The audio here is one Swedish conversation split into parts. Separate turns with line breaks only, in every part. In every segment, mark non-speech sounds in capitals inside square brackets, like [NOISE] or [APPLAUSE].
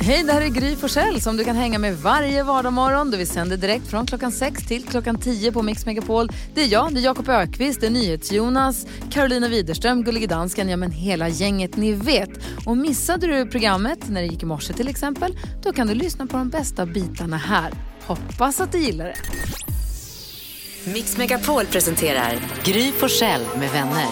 Hej, det här är Gry Forssell som du kan hänga med varje vardagsmorgon. Vi sänder direkt från klockan 6 till klockan 10 på Mix Megapol. Det är jag, det är Jakob Ökvist, det är NyhetsJonas, Carolina Widerström, Gullige Dansken, ja men hela gänget ni vet. Och missade du programmet när det gick i morse till exempel, då kan du lyssna på de bästa bitarna här. Hoppas att du gillar det.
Mix Megapol presenterar Gry Forssell med vänner.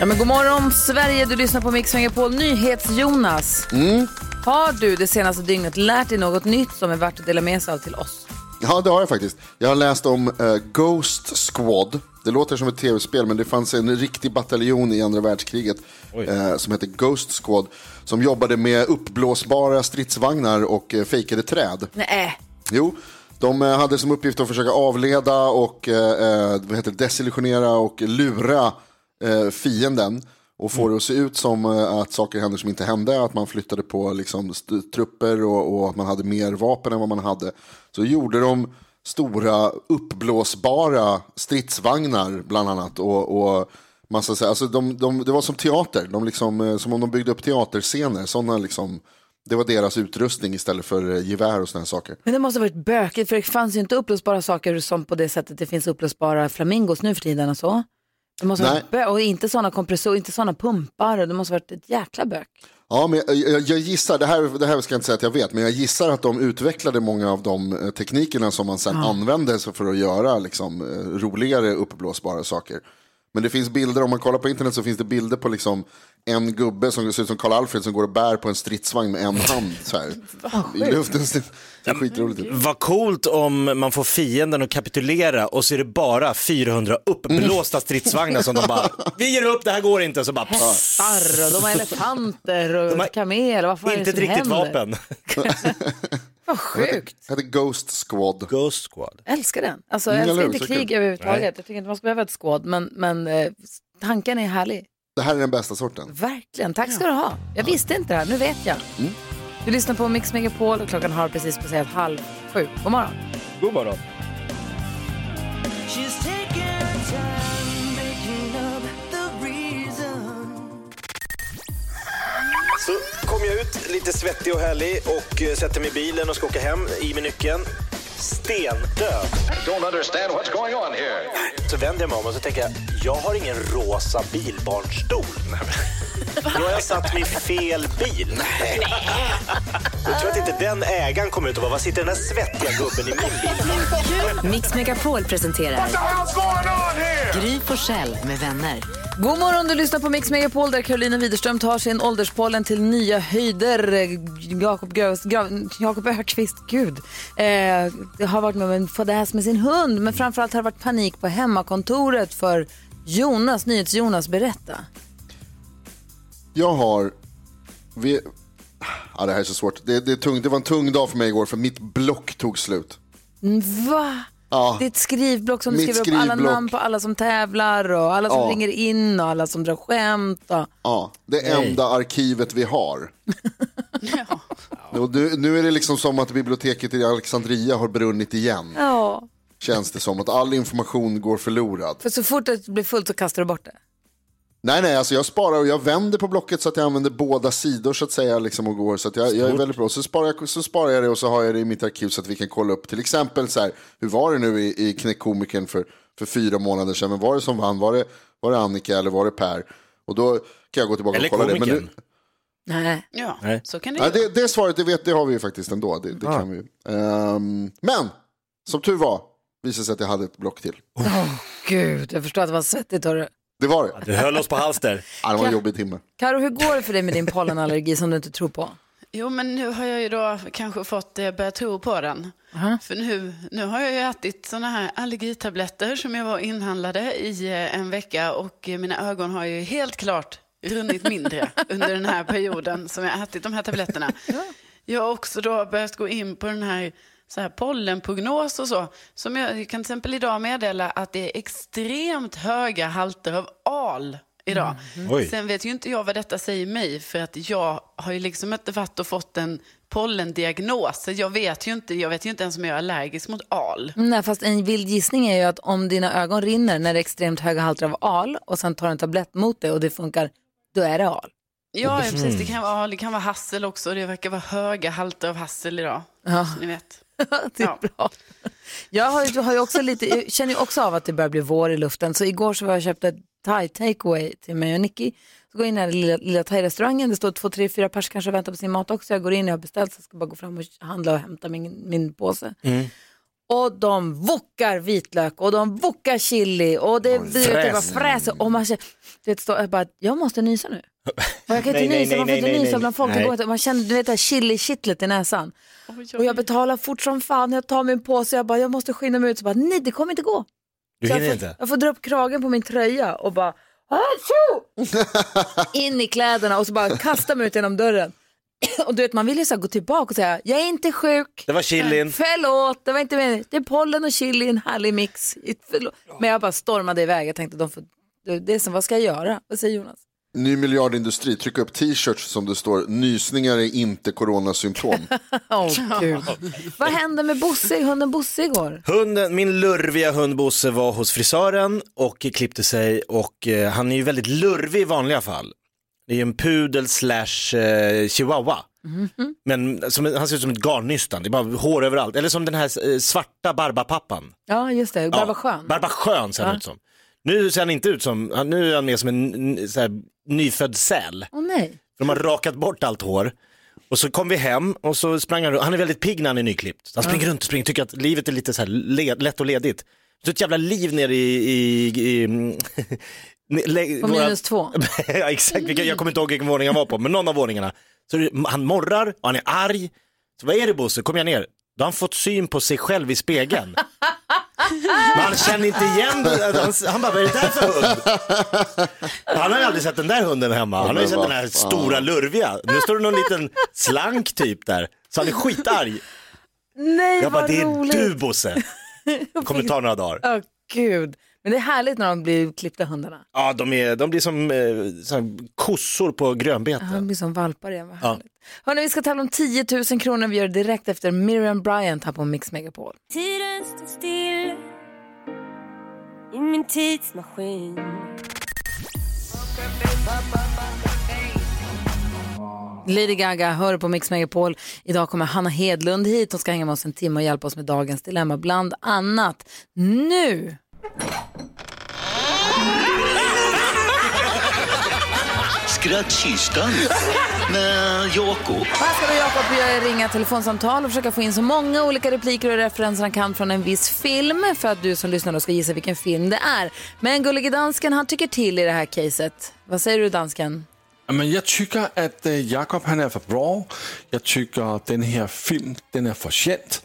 Ja, men god morgon Sverige, du lyssnar på Mix Megapol. NyhetsJonas. Mm. Har du det senaste dygnet lärt dig något nytt som är värt att dela med sig av till oss?
Ja, det har jag faktiskt. Jag har läst om eh, Ghost Squad. Det låter som ett tv-spel, men det fanns en riktig bataljon i andra världskriget eh, som hette Ghost Squad, som jobbade med uppblåsbara stridsvagnar och eh, fejkade träd.
Nej.
Jo, de eh, hade som uppgift att försöka avleda och eh, eh, vad heter det, desillusionera och lura eh, fienden och få det att se ut som eh, att saker händer som inte hände, att man flyttade på liksom, st- trupper och, och att man hade mer vapen än vad man hade. Så gjorde de stora uppblåsbara stridsvagnar bland annat. Och, och massa, så här- alltså, de, de, det var som teater, de liksom, eh, som om de byggde upp teaterscener. Såna, liksom, det var deras utrustning istället för eh, gevär och såna här saker.
Men det måste ha varit bökigt för det fanns ju inte upplösbara saker som på det sättet det finns upplösbara flamingos nu för tiden och så. Det måste ha varit bö- och inte sådana kompressor, inte sådana pumpar. och Det måste ha varit ett jäkla bök.
Ja, men jag, jag, jag gissar, det här, det här ska jag inte säga att jag vet, men jag gissar att de utvecklade många av de eh, teknikerna som man sen använde så- för att göra liksom, eh, roligare uppblåsbara saker. Men det finns bilder, om man kollar på internet så finns det bilder på liksom, en gubbe som ser ut som Karl-Alfred som går och bär på en stridsvagn med en hand så här, i luften. Det ser skitroligt ut.
Vad coolt om man får fienden att kapitulera och så är det bara 400 uppblåsta stridsvagnar som de bara, vi ger upp, det här går inte. Så bara, pss,
Hästar och de har elefanter
De har
och kamel. Vad fan är
inte
det
ett
som
riktigt
händer?
vapen.
Vad sjukt.
Det heter Ghost Squad.
Ghost Squad.
Jag älskar den. Alltså,
Mm,
jag
eller
älskar
hur?
inte
Så
krig
kul.
överhuvudtaget.
Nej.
Jag tycker inte man ska behöva ett skåd, men, men eh, tanken är härlig.
Det här är den bästa sorten.
Verkligen. Tack ska du ha. Jag visste inte det här, nu vet jag. Du lyssnar på Mix Megapol och klockan har precis passerat halv sju. God morgon.
God morgon.
Så kom jag ut lite svettig och härlig och eh, sätter mig i bilen och ska åka hem i med nyckeln. Stendöd.
don't understand what's going on here.
Så vänder jag mig om och så tänker jag, jag har ingen rosa bilbarnstol. Nu har jag satt mig i fel bil. Nej. Jag tror att inte den ägaren kom ut och bara, vad sitter den där svettiga gubben i min bil?
Mix Megapol presenterar Gry Forssell med vänner.
God morgon, du lyssnar på Mix Megapol där Carolina Widerström tar sin ålderspollen till nya höjder. Eh, Jakob Grös- Gra- Jakob Öqvist, gud. Eh, jag har varit med om en fadäs med sin hund, men framförallt har det varit panik på hemmakontoret för Jonas, NyhetsJonas, berätta.
Jag har... Vi... Ja, det här är så svårt. Det, det, är tungt. det var en tung dag för mig igår för mitt block tog slut. Ah,
Va?
Ja.
Ditt skrivblock som du
Mitt
skriver upp alla
skrivblock.
namn på alla som tävlar och alla som
Ja.
ringer in och alla som drar skämt. Och...
Ja, det enda arkivet vi har. Och nu, nu är det liksom som att biblioteket i Alexandria har brunnit igen.
Ja.
Känns det som att all information går förlorad.
För så fort det blir fullt så kastar du bort det.
Nej, nej, alltså jag sparar och jag vänder på blocket så att jag använder båda sidor så att säga. Liksom, och går, så att jag, jag är väldigt bra. Så sparar, jag, så sparar jag det och så har jag det i mitt arkiv så att vi kan kolla upp till exempel så här, hur var det nu i, i Knäckkomikern för, för fyra månader sedan? Men var det som vann? Var det, var det Annika eller var det Per? Och då kan jag gå tillbaka
Eller
och kolla det. Men
komikern.
nu,
Nej.
Ja,
Nej.
så kan det
Ja,
ju
det, det svaret det vet, det har vi ju faktiskt ändå. Det, det kan vi. ju. Ehm, men som tur var visade det sig att jag hade ett block till.
Gud, jag förstår att det var svettigt. hörru.
Det var det.
Du höll oss på halster.
Ja, det var en jobbig timme.
Karo, hur går det för dig med din pollenallergi som du inte tror på?
Jo, men nu har jag ju då kanske fått eh, börja tro på den. För nu, nu har jag ju ätit såna här allergitabletter som jag var inhandlade i eh, en vecka och eh, mina ögon har ju helt klart runnit mindre under den här perioden som jag har ätit de här tabletterna. Jag har också då börjat gå in på den här, så här pollenprognos och så. Som jag kan till exempel idag meddela att det är extremt höga halter av al idag.
Oj.
Sen vet ju inte jag vad detta säger mig för att jag har ju liksom inte varit och fått en pollendiagnos. Så jag vet ju inte, jag vet ju inte ens om jag är allergisk mot al.
Mm, Nej, fast en vild gissning är ju att om dina ögon rinner när det är extremt höga halter av al och sen tar en tablett mot det och det funkar, då är det al.
Ja, precis. Det kan, vara, det kan vara hassel också. Det verkar vara höga halter av hassel idag.
Ja.
Ni vet.
[LAUGHS] det är
Ja.
bra. Jag har, ju- har ju också lite, jag känner ju också av att det börjar bli vår i luften. Så igår så var jag och köpte ett thai takeaway till mig och Nicky. Så går jag in i den här lilla, lilla thai-restaurangen. Det står två, tre, fyra pers kanske och väntar på sin mat också. Jag går in, jag har beställt, så jag ska bara gå fram och handla och hämta min, min påse. Och de vokar vitlök och de vokar chili och det, du vet, det bara
fräs.
fräser. Och man känner, du vet, står, jag bara, jag måste nysa nu. Och jag kan inte
Nej, nej,
nysa, man får
nej,
inte
nej,
nysa
nej.
bland folk. Det
Nej.
går inte. Man känner du vet, det här chili-kittlet i näsan.
oj.
Och jag betalar fort som fan, jag tar min påse, jag bara, jag måste skynda mig ut. Så bara, nej det kommer inte gå.
Du
Så jag
hinner
får-
inte?
Jag får dra upp kragen på min tröja och bara,
[LAUGHS]
"Achoo!" in i kläderna och så bara kasta mig ut genom dörren. [CLEARS THROAT] Och du vet, man vill ju så här gå tillbaka och säga, jag är inte sjuk.
Det var chilin.
Förlåt, det var inte meningen. Det är pollen och chili i en härlig mix. I- förlåt. Men jag bara stormade iväg. Jag tänkte, de får, det- det är som, vad ska jag göra? Vad säger Jonas?
Ny miljardindustri, tryck upp t-shirts som det står nysningar är inte [LAUGHS] coronasymptom.
Åh gud. vad hände med Bosse, hunden Bosse igår?
Hunden, min lurviga hund Bosse var hos frisören och klippte sig och eh, han är ju väldigt lurvig i vanliga fall. Det är ju en pudel slash eh, chihuahua. Men som, han ser ut som ett garnnystan, det är bara hår överallt. Eller som den här eh, svarta barbapappan.
Ja, just det. Bara var skön.
Barba Schön ser han ut som. Nu ser han inte ut som, han- nu är han mer som en n- så här, nyfödd säl.
Åh nej.
De har rakat bort allt hår. Och så kom vi hem och så sprang han runt. Han är väldigt pigg när han är nyklippt. Han springer runt och springer, tycker att livet är lite så här led, lätt och ledigt. Så ett jävla liv nere i... i, i [LAUGHS] mm, le-
På
våra-
minus två.
[LAUGHS] ja, exakt, vilka, jag kommer inte ihåg vilken våning han var på, men någon av våningarna. Så det- han morrar och han är arg. Så vad är det Bosse, kom jag ner. Då har han fått syn på sig själv i spegeln. Men han känner inte igen den. Han, han bara, vad är det där för hund? Han har ju aldrig sett den där hunden hemma. Han har ju
men
sett
vad
den här
fan.
stora lurviga. Nu står det någon liten slank typ där. Så han är skitarg.
Nej,
Jag bara,
vad
det är
roligt.
du Bosse. Kommer ta några dagar.
Åh gud. Men det är härligt när de blir klippta hundarna.
Ja, de, är, de blir som eh, så här, kossor på grönbete.
De blir som valpar igen, vad
Ja.
härligt. Hörrni, vi ska tävla om 10 000 kronor. Vi gör det direkt efter Miriam Bryant här på Mix Megapol.
Tiden står still i min tidsmaskin
Lady Gaga hör på Mix Megapol. Idag kommer Hanna Hedlund hit. Hon ska hänga med oss en timme och hjälpa oss med dagens dilemma. Bland annat nu.
Skrattkistan med Jakob.
Här ska vi Jakob och jag ringa telefonsamtal och försöka få in så många olika repliker och referenser han kan från en viss film för att du som lyssnar då ska gissa vilken film det är. Men gullige dansken han tycker till i det här caset. Vad säger du dansken?
Men jag tycker att eh, Jakob han är för bra. Jag tycker att den här filmen den är förtjänt.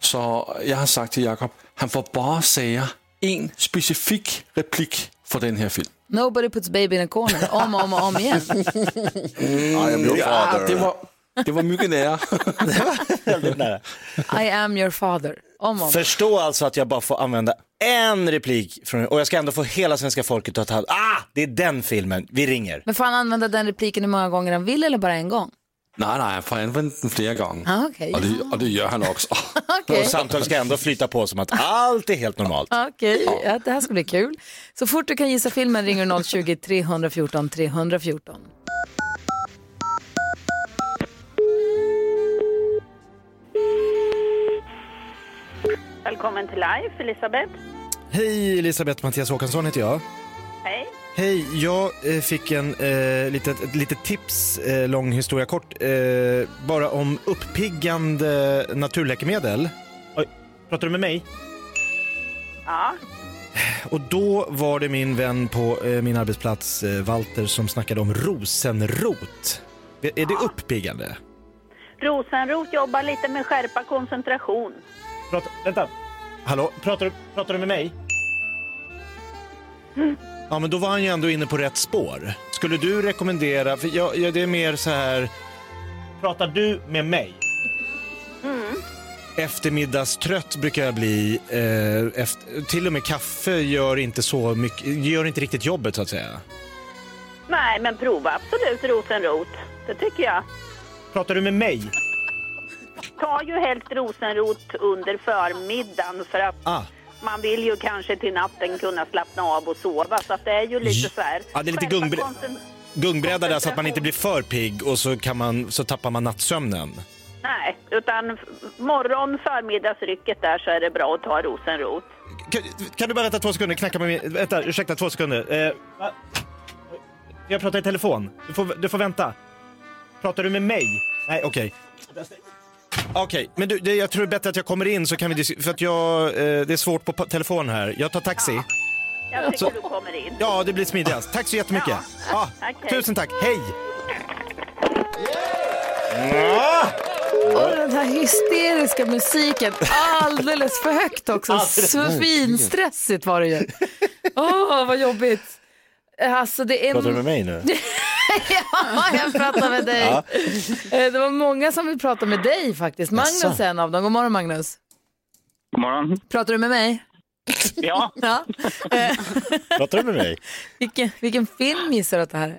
Så jag har sagt till Jakob, han får bara säga en specifik replik för den här filmen.
Nobody puts baby in a corner om och om och om igen.
I am your
Ja, Ah, det,
father.
var, det var mycket nära.
[LAUGHS] Väldigt nära.
I am your father. Om och om.
Förstå alltså att jag bara får använda en replik från, och jag ska ändå få hela svenska folket att ta Ah, det är den filmen, vi ringer.
Men får han använda den repliken hur många gånger han vill eller bara en gång?
[LAUGHS] nej, nej, han får använda den flera gånger.
Ah, okej.
och, det, och det gör han också.
Okej.
Och samtalet ska ändå flyta på som att allt är helt normalt.
Okej, ja, det här ska bli kul. Så fort du kan gissa filmen ringer du 020-314 314.
Välkommen till Life, Elisabeth.
Hej, Elisabeth Mattias Håkansson heter jag.
Hej.
Hej, jag eh, fick en eh, litet, ett litet tips, eh, lång historia kort, eh, bara om uppiggande naturläkemedel. Oj, pratar du med mig?
Ja.
Och då var det min vän på eh, min arbetsplats, eh, Walter, som snackade om rosenrot. Är är det uppiggande?
Rosenrot jobbar lite med skärpa koncentration.
Prata, vänta. Hallå, pratar du, pratar du med mig? Ja, men då var han ju ändå inne på rätt spår. Skulle du rekommendera, för jag, jag, det är mer så här... Pratar du med mig? Mm. Eftermiddagstrött brukar jag bli. Eh, efter, till och med kaffe gör inte så mycket, gör inte riktigt jobbet så att säga.
Nej, men prova absolut rosenrot. Det tycker jag.
Pratar du med mig?
Ta ju helst rosenrot under förmiddagen för att
Ah.
man vill ju kanske till natten kunna slappna av och sova. Så att det är ju lite så här.
Ja, det är lite
skärpa
gungbry-
koncen-
Gungbräda där så att man inte blir för pigg och så, kan man, så tappar man nattsömnen.
Nej, utan f- morgon, förmiddagsrycket där så är det bra att ta rosenrot.
Kan, kan du bara vänta två sekunder? Knacka med min... Vänta, ursäkta, två sekunder. Eh, va? jag pratar i telefon. Du får, du får vänta. Pratar du med mig? Nej, okej. Okej, men du, det, jag tror det är bättre att jag kommer in så kan vi dis- För att jag, eh, det är svårt på pa- telefon här. Jag tar taxi.
Jag tycker
Så-
du kommer in.
Ja, det blir smidigast. Tack så jättemycket.
Ja.
Ah,
Okej.
Tusen tack. Hej! Ah!
Och den här hysteriska musiken, alldeles för högt också.
Alldeles.
Svinstressigt var det ju. Åh, vad jobbigt. Alltså, det är...
Pratar du med mig
[LAUGHS]
nu?
ja, jag pratar med dig.
Ja.
Eh, Det var många som vill prata med dig faktiskt. Magnus
Jaså?
är en av dem. God morgon Magnus.
God morgon.
Pratar du med mig?
Ja.
[LAUGHS] ja. Eh,
Pratar du med mig?
vilken, vilken film gissar du att det här är?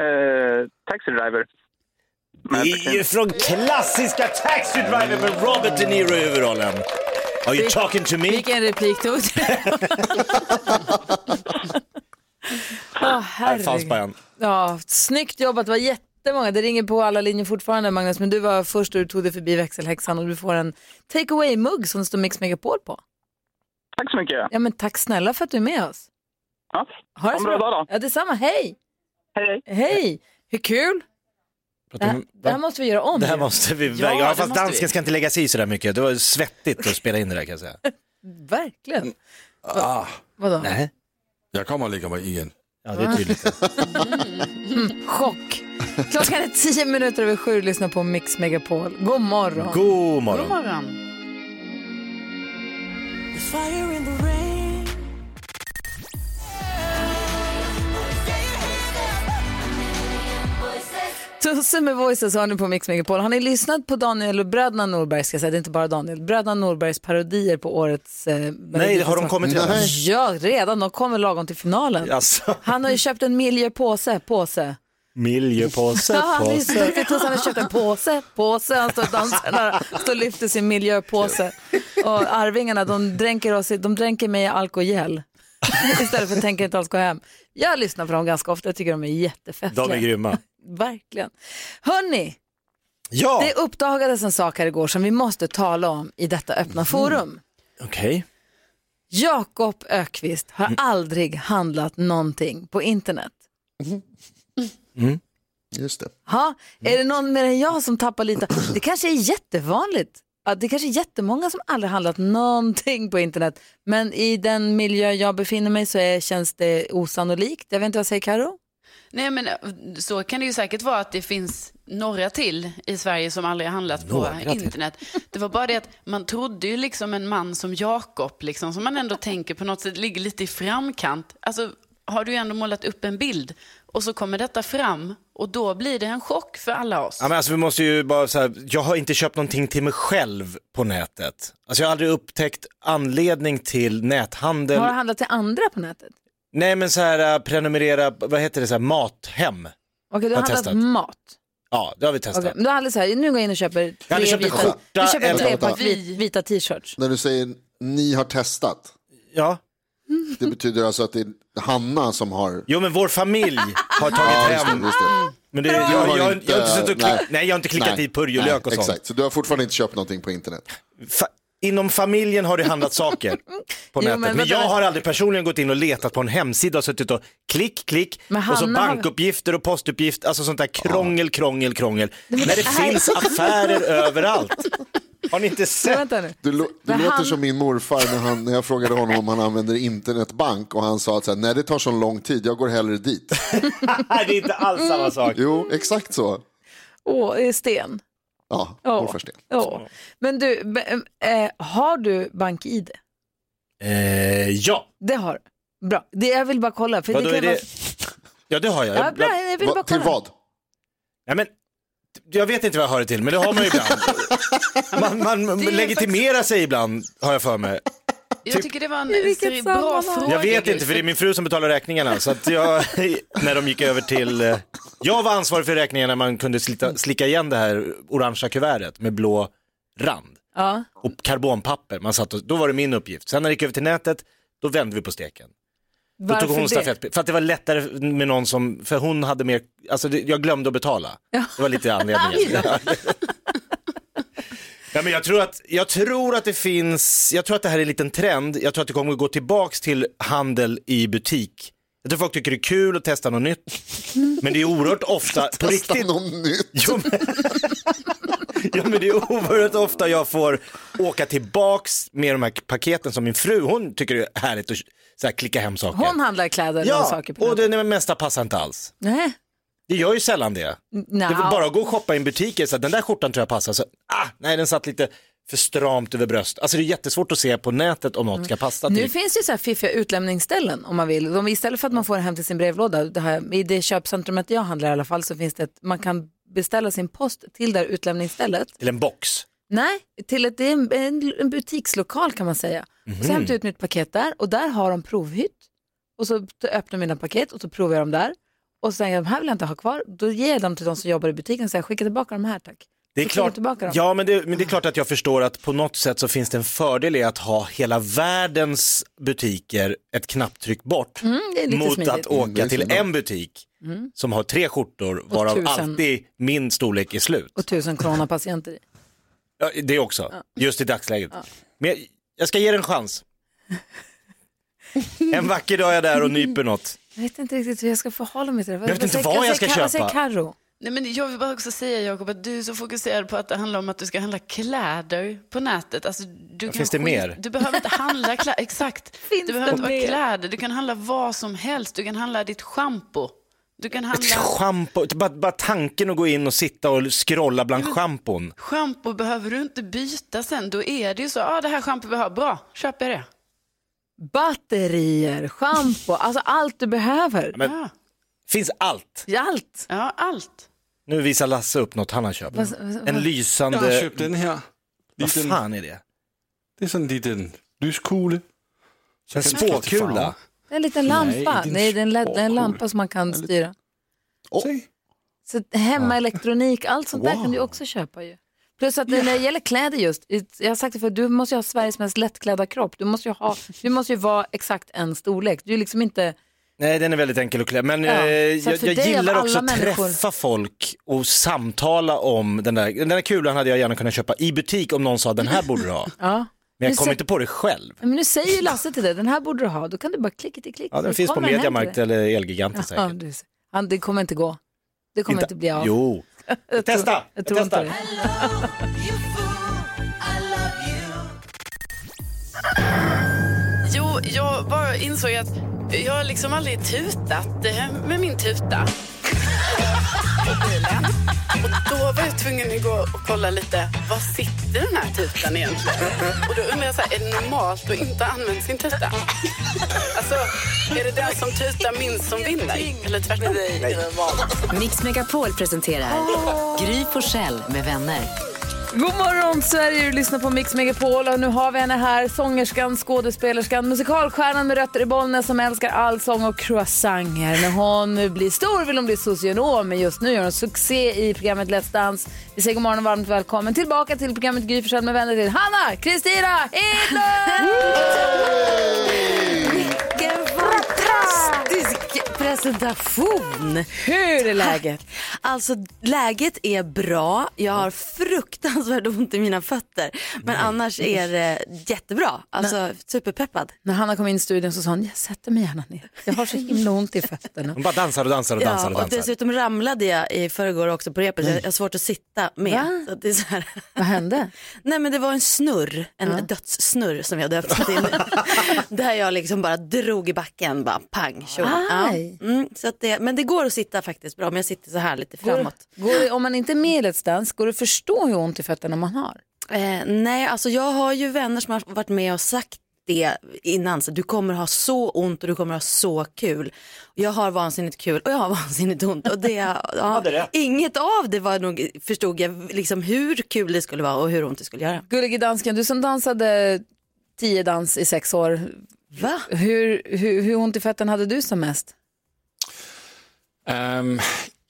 Eh, taxi driver.
Det är ju från klassiska Taxi Driver med Robert De Niro i huvudrollen. Are you talking to me?
Vilken replik tog
[LAUGHS]
du? Åh,
Här fanns
herregud.
bara en.
Ja, snyggt jobbat, det var jättemånga. Det ringer på alla linjer fortfarande Magnus, men du var först och du tog dig förbi växelhäxan och du får en take away-mugg som det står Mix Megapol på.
Tack så mycket.
Ja, men tack snälla för att du är med oss.
Ja.
Ha det
Ha en
så
bra
bra.
dag då.
Ja, detsamma, hej!
Hej!
Hej! Hur kul! Det här, det här måste vi göra om.
Det här
ju.
måste vi
Ja,
väga.
det
Ja, fast
måste vi.
dansken ska inte lägga sig i så där mycket. Det var svettigt att spela in det där kan jag säga.
Verkligen.
Ah,
Vadå?
Nej.
jag kommer och lägger mig igen.
Ja,
det är [LAUGHS]
tydligt.
Mm, chock. Klockan är tio minuter över sju. Lyssna på Mix Megapol. God morgon.
God
God morgon.
Tusse med Voices har ni på Mix Megapol. Har ni lyssnat på Daniel och bröderna Norberg? Ska jag säga. Det är inte bara Daniel. Bröderna Norbergs parodier på årets... Eh,
har de kommit redan? Nej.
Ja, redan. De kommer lagom till finalen.
Alltså.
Han har ju köpt en miljöpåse. Påse.
Miljöpåse,
Ja, han är så
påse.
duktig. Tusse han har köpt en påse. Påse. Han står och dansar där. Står och lyfter sin miljöpåse. Och Arvingarna, de dränker, oss, i- de dränker mig i alkogel. [LAUGHS] Istället för att tänka inte alls gå hem. Jag lyssnar på dem ganska ofta. Jag tycker de är jättefestliga.
De är grymma.
Verkligen. Hörni,
Ja.
det uppdagades en sak här igår som vi måste tala om i detta
Mhm.
öppna forum.
Okej.
Jakob Ökvist har aldrig handlat någonting på internet.
Mm. Just det.
Ha, är det någon mer än jag som tappar lite? Det kanske är jättevanligt. att Det kanske är jättemånga som aldrig handlat någonting på internet. Men i den miljö jag befinner mig så är, känns det osannolikt. Jag vet inte vad jag säger Karo?
Nej, men eh, så kan det ju säkert vara att det finns några till i Sverige som aldrig har handlat
Några
på
till.
internet. Det var bara det att man trodde ju liksom en man som Jakob, liksom, som man ändå tänker på något sätt ligger lite i framkant. Alltså, har du ju ändå målat upp en bild och så kommer detta fram och då blir det en chock för alla oss.
Ja, men alltså, vi måste ju bara så här, jag har inte köpt någonting till mig själv på nätet. Alltså, jag har aldrig upptäckt anledning till näthandel.
Har du handlat till andra på nätet?
Nej men så här äh, prenumerera, vad heter det, så här, mathem.
Okej, du
Jag
har
har
handlat
testat.
mat.
Ja, det har vi testat.
Okej, Men du har aldrig så här, nu går jag in och köper tre
hade köpt en
vita,
skjorta
du köper
eller-
tre par vit, vita t-shirts.
När du säger ni har testat.
Ja.
Det betyder alltså att det är Hanna som har.
Jo men vår familj har
Ja,
tagit
just det,
hem.
just det.
Men det, jag, jag, jag, har inte suttit och klick,
nej.
nej, jag har inte klickat
Nej,
i purjolök och
nej,
sånt.
Exakt, så du har fortfarande inte köpt någonting på internet.
Fa- inom familjen har det handlat saker på
Jo,
nätet.
men
Men,
vänta,
jag
vänta.
har aldrig personligen gått in och letat på en hemsida och suttit och klick, klick
Men
och så
Hanna har-
bankuppgifter och postuppgift, alltså sånt där krångel, krångel, krångel.
men
När
det
det
här-
finns affärer överallt. Har ni inte
[LAUGHS]
sett?
Vänta nu.
Du, lo- du
Men
låter
Alltså, han-
som min morfar när, han, när jag frågade honom om han använder internetbank och han sa att så här, nej det tar så lång tid, jag går hellre dit.
Nej, det är inte alls samma sak.
Jo, exakt så.
Åh, det är sten.
Ja,
Ja.
morfar Sten.
Ja. Men du, b- eh, har du bank-id?
Eh, ja,
Det har du. Bra. Det, jag vill bara kolla. För
vadå
det
är
kan
det? Ja, det har jag.
Vara... Ja, bra, jag vill bara kolla.
Nej, men, jag vet inte vad jag har det till, men det har man ju ibland. Man, man
Det är
legitimerar sig ibland, har jag för mig.
Jag tycker det var en
I vilket
seri- bra
sammanhang?
fråga.
typ- Jag vet inte,
Gry.
för det är min fru som betalar räkningarna. Så att jag, [LAUGHS] när de gick över till... eh, Jag var ansvarig för räkningarna när man kunde slita, slicka igen det här orangea kuvertet med blå rand
Ja.
och karbonpapper. Man satt och, då var det min uppgift. Sen när det gick över till nätet, då vände vi på steken. Då tog
Varför
hon
det?
stafett, för att det var lättare med någon som, för hon hade mer, alltså det, jag glömde att betala. Det var
[LAUGHS]
lite anledningen. ja, men jag, tror att, jag tror att det finns, jag tror att det här är en liten trend, jag tror att det kommer att gå tillbaks till handel i butik. Jag tror folk tycker det är kul att testa något nytt, men det är oerhört
[LAUGHS]
ofta, på
Testa
riktigt,
något nytt.
Jo, men... [LAUGHS] Ja men det är oerhört ofta jag får åka tillbaks med de här paketen som min fru, hon tycker det är härligt att så här, klicka hem saker.
Hon handlar kläder och
ja,
saker på
och det mesta passar inte alls.
Nej.
Det gör ju sällan det. Det
nja.
är väl bara att gå och shoppa i en butik och säga den där skjortan tror jag passar. Så, ah, nej den satt lite för stramt över bröst. Alltså det är jättesvårt att se på nätet om något ska passa
Mm. Nu
till.
finns ju så här fiffiga utlämningsställen om man vill. De, istället för att man får det hem till sin brevlåda, det här, i det köpcentrumet jag handlar i alla fall, så finns det att man kan beställa sin post till det här utlämningsstället.
Till en box.
Nej, till ett, det är en, en, en butikslokal kan man säga. Och så
Mhm.
hämtar jag ut mitt paket där och där har de provhytt. Och så t- öppnar jag mina paket och så provar jag dem där. Och så säger jag, de här vill jag inte ha kvar. Då ger jag dem till de som jobbar i butiken och säger, skicka tillbaka de här tack.
Det är
Så får de
klart,
tillbaka dem.
ja, men det, men det är klart att jag förstår att på något sätt så finns det en fördel i att ha hela världens butiker ett knapptryck bort
Mm, det är lite
mot
smidigt.
att
Mm, det
åka
är
till
smidigt.
en butik
Mm.
som har tre skjortor varav
tusen.
alltid min storlek är slut.
Och tusen coronapatienter i.
Ja, det också, just i dagsläget. Men jag, jag ska ge det en chans. En vacker dag är jag där och nyper något.
Jag vet inte riktigt hur jag ska förhålla mig till det.
Jag vet inte vad jag ska
Vad säger
köpa.
Karo?
Nej, men jag vill bara också säga Jakob att du är så fokuserad på att det handlar om att du ska handla kläder på nätet. Alltså, du kan
finns det
skit-
mer?
Du behöver inte
[LAUGHS]
handla kläder, exakt. du behöver
det
inte vara
mer?
kläder, du kan handla vad som helst. Du kan handla ditt schampo. Du kan handla...
Schampo, bara, bara tanken att gå in och sitta och scrolla bland schampon.
Schampo behöver du inte byta sen. Då är det ju så, ah, det här schampo vi har, bra, köper jag det.
Batterier, schampo, alltså allt du behöver.
Men, Finns allt.
Allt. Alltså,
Ja, allt.
Nu visar Lasse upp något han har köpt.
Vad- vad-
En
vad-
lysande...
Jag har köpt den här.
Vad
Liten-
fan är det?
Det är sådan en liten lyskugle. Så
En
kan du skifte
spåkula.
farve.
Det är en liten
Nej,
lampa.
det är en
Nej, det är en, led, det är en lampa som man kan styra. Så att hemmaelektronik, allt sånt där kan du också köpa ju. Plus att när det gäller kläder just, jag har sagt det för du måste ju ha Sveriges mest lättklädda kropp. Du måste ju, ha, du måste ju vara exakt en storlek. Du är liksom inte,
Nej, den är väldigt enkel att klä. Men
Ja,
eh,
så
jag,
att för
jag
dig av
gillar
alla
också att
människor-
träffa folk och samtala om den där. Den där kulan hade jag gärna kunnat köpa i butik om någon sa den här borde du ha.
ja.
Men
Nu
jag kom
ser-
inte på det själv.
Men nu säger ju Lasse till dig, den här borde du ha. Då kan du bara klicka till klick.
Ja, den
så
finns på
kommer den hem till
Mediamarkt
dig.
eller Elgiganten
Ja,
säkert.
du ser. Han, det kommer inte gå. Det kommer inte, bli av.
Jo.
[LAUGHS] Jag tror-
Testa!
Jag tror inte
testar.
det.
Jo, jag bara insåg att jag har liksom aldrig tutat eh, med min tuta. På bilen. Och då var jag tvungen att gå och kolla lite, var sitter den här tutan egentligen? Och då undrar jag så här, är det normalt att inte använda sin tuta? Alltså, är det den som tutar minst som vinner? Eller tvärtom?
Mix Megapol presenterar Gry Forssell med vänner.
God morgon Sverige, du lyssnar på Mix Megapol och nu har vi henne här, sångerskan, skådespelerskan, musikalstjärnan med rötter i Bollnäs som älskar allsång och croissanger. När hon blir stor vill hon bli socionom men just nu gör hon succé i programmet Let's Dance. Vi säger god morgon och varmt välkommen tillbaka till programmet Gry Forssell med vänner till Hanna Kristina Hedlund! Vilken
fantastisk presentation! Hur är läget? Alltså läget är bra. Jag har fruktansvärt ont i mina fötter. Men annars är det jättebra. Alltså superpeppad.
När Hanna kom in i studion så sa hon, jag sätter mig gärna ner. Jag har så himla ont i fötterna.
De bara dansar och dansar och dansar och
Ja, och
dansar.
dessutom ramlade jag i förrgår också på repet. Jag jag har svårt att sitta
Va?
med. Så att det är så här.
Vad hände?
Nej men det var en snurr, en dödssnurr som jag
[LAUGHS]
döpte till. där jag liksom bara drog i backen, bara pang tjo. Ja.
Aj.
Mm, så att det, men det går att sitta faktiskt bra, men jag sitter så här lite framåt.
Går, går, det- om man inte är med i Let's Dance, går det att förstå hur ont i fötterna man har?
Eh, nej, alltså jag har ju vänner som har varit med och sagt det innan, så du kommer ha så ont och du kommer ha så kul. Jag har vansinnigt kul och jag har [LAUGHS] vansinnigt ont. Och det, ja, inget av det var nog, förstod jag liksom hur kul det skulle vara och hur ont det skulle göra.
Gullige dansken, du som dansade tio dans i sex år.
Va?
Hur, hur, hur ont i fötterna hade du som mest?
Øhm,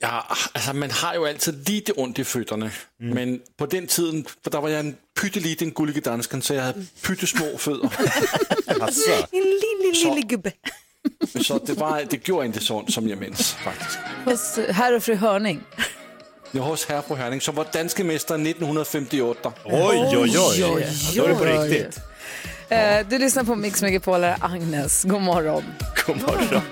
ja, altså, man har jo altid lidt det ondt i fødderne, men på den tiden, for der var jeg en pytteliten
[LAUGHS]
[LAUGHS]
gullige dansken, så jeg havde pyttesmå fødder.
En lille, lille gubbe.
[LAUGHS] Så det, var, det gjorde inte sånt som jag minns faktiskt.
Hos herr och fru Hörning.
Jag var hos herr på Herning som var danske mästare 1958.
Oj, oj, oj. Oj, oj,
Då är det på
oj.
riktigt.
Eh, du lyssnar på Mix Megapolare, Agnes. God morgon.
God morgon.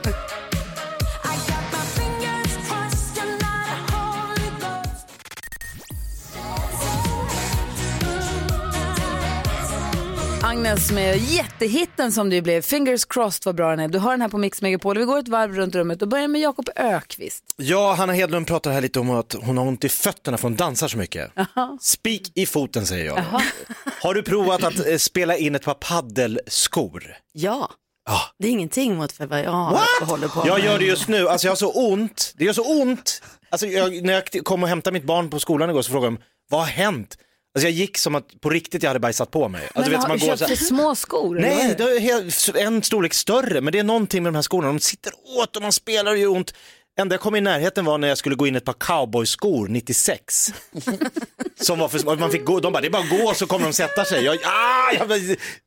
Agnes med jättehitten som det ju blev. Fingers crossed vad bra den är. Du hör den här på Mix Megapol. Vi går ett varv runt rummet och börjar med Jakob Ökvist.
Ja, Hanna Hedlund pratar här lite om att hon har ont i fötterna för hon dansar så mycket. Spik i foten säger jag. då. Har du provat att eh, spela in ett par paddelskor?
Ja. Det är ingenting mot för vad jag
What?
håller på
Jag gör det just nu, alltså jag har så ont, det gör så ont. Alltså jag, när jag kom och hämtade mitt barn på skolan igår så frågade de, vad har hänt? Alltså jag gick som att på riktigt jag hade bajsat på mig. Alltså,
Men
som
har du köpt för små skor? eller vad är
Nej,
det?
det är helt- en storlek större, men det är någonting med de här skorna, de sitter åt och man spelar och gör ont. Enda jag kom i närheten var när jag skulle gå in ett par cowboyskor
[LAUGHS]
96. Som var för små. man fick gå, de bara, det är bara att gå så kommer de sätta sig. Jag, ah, jag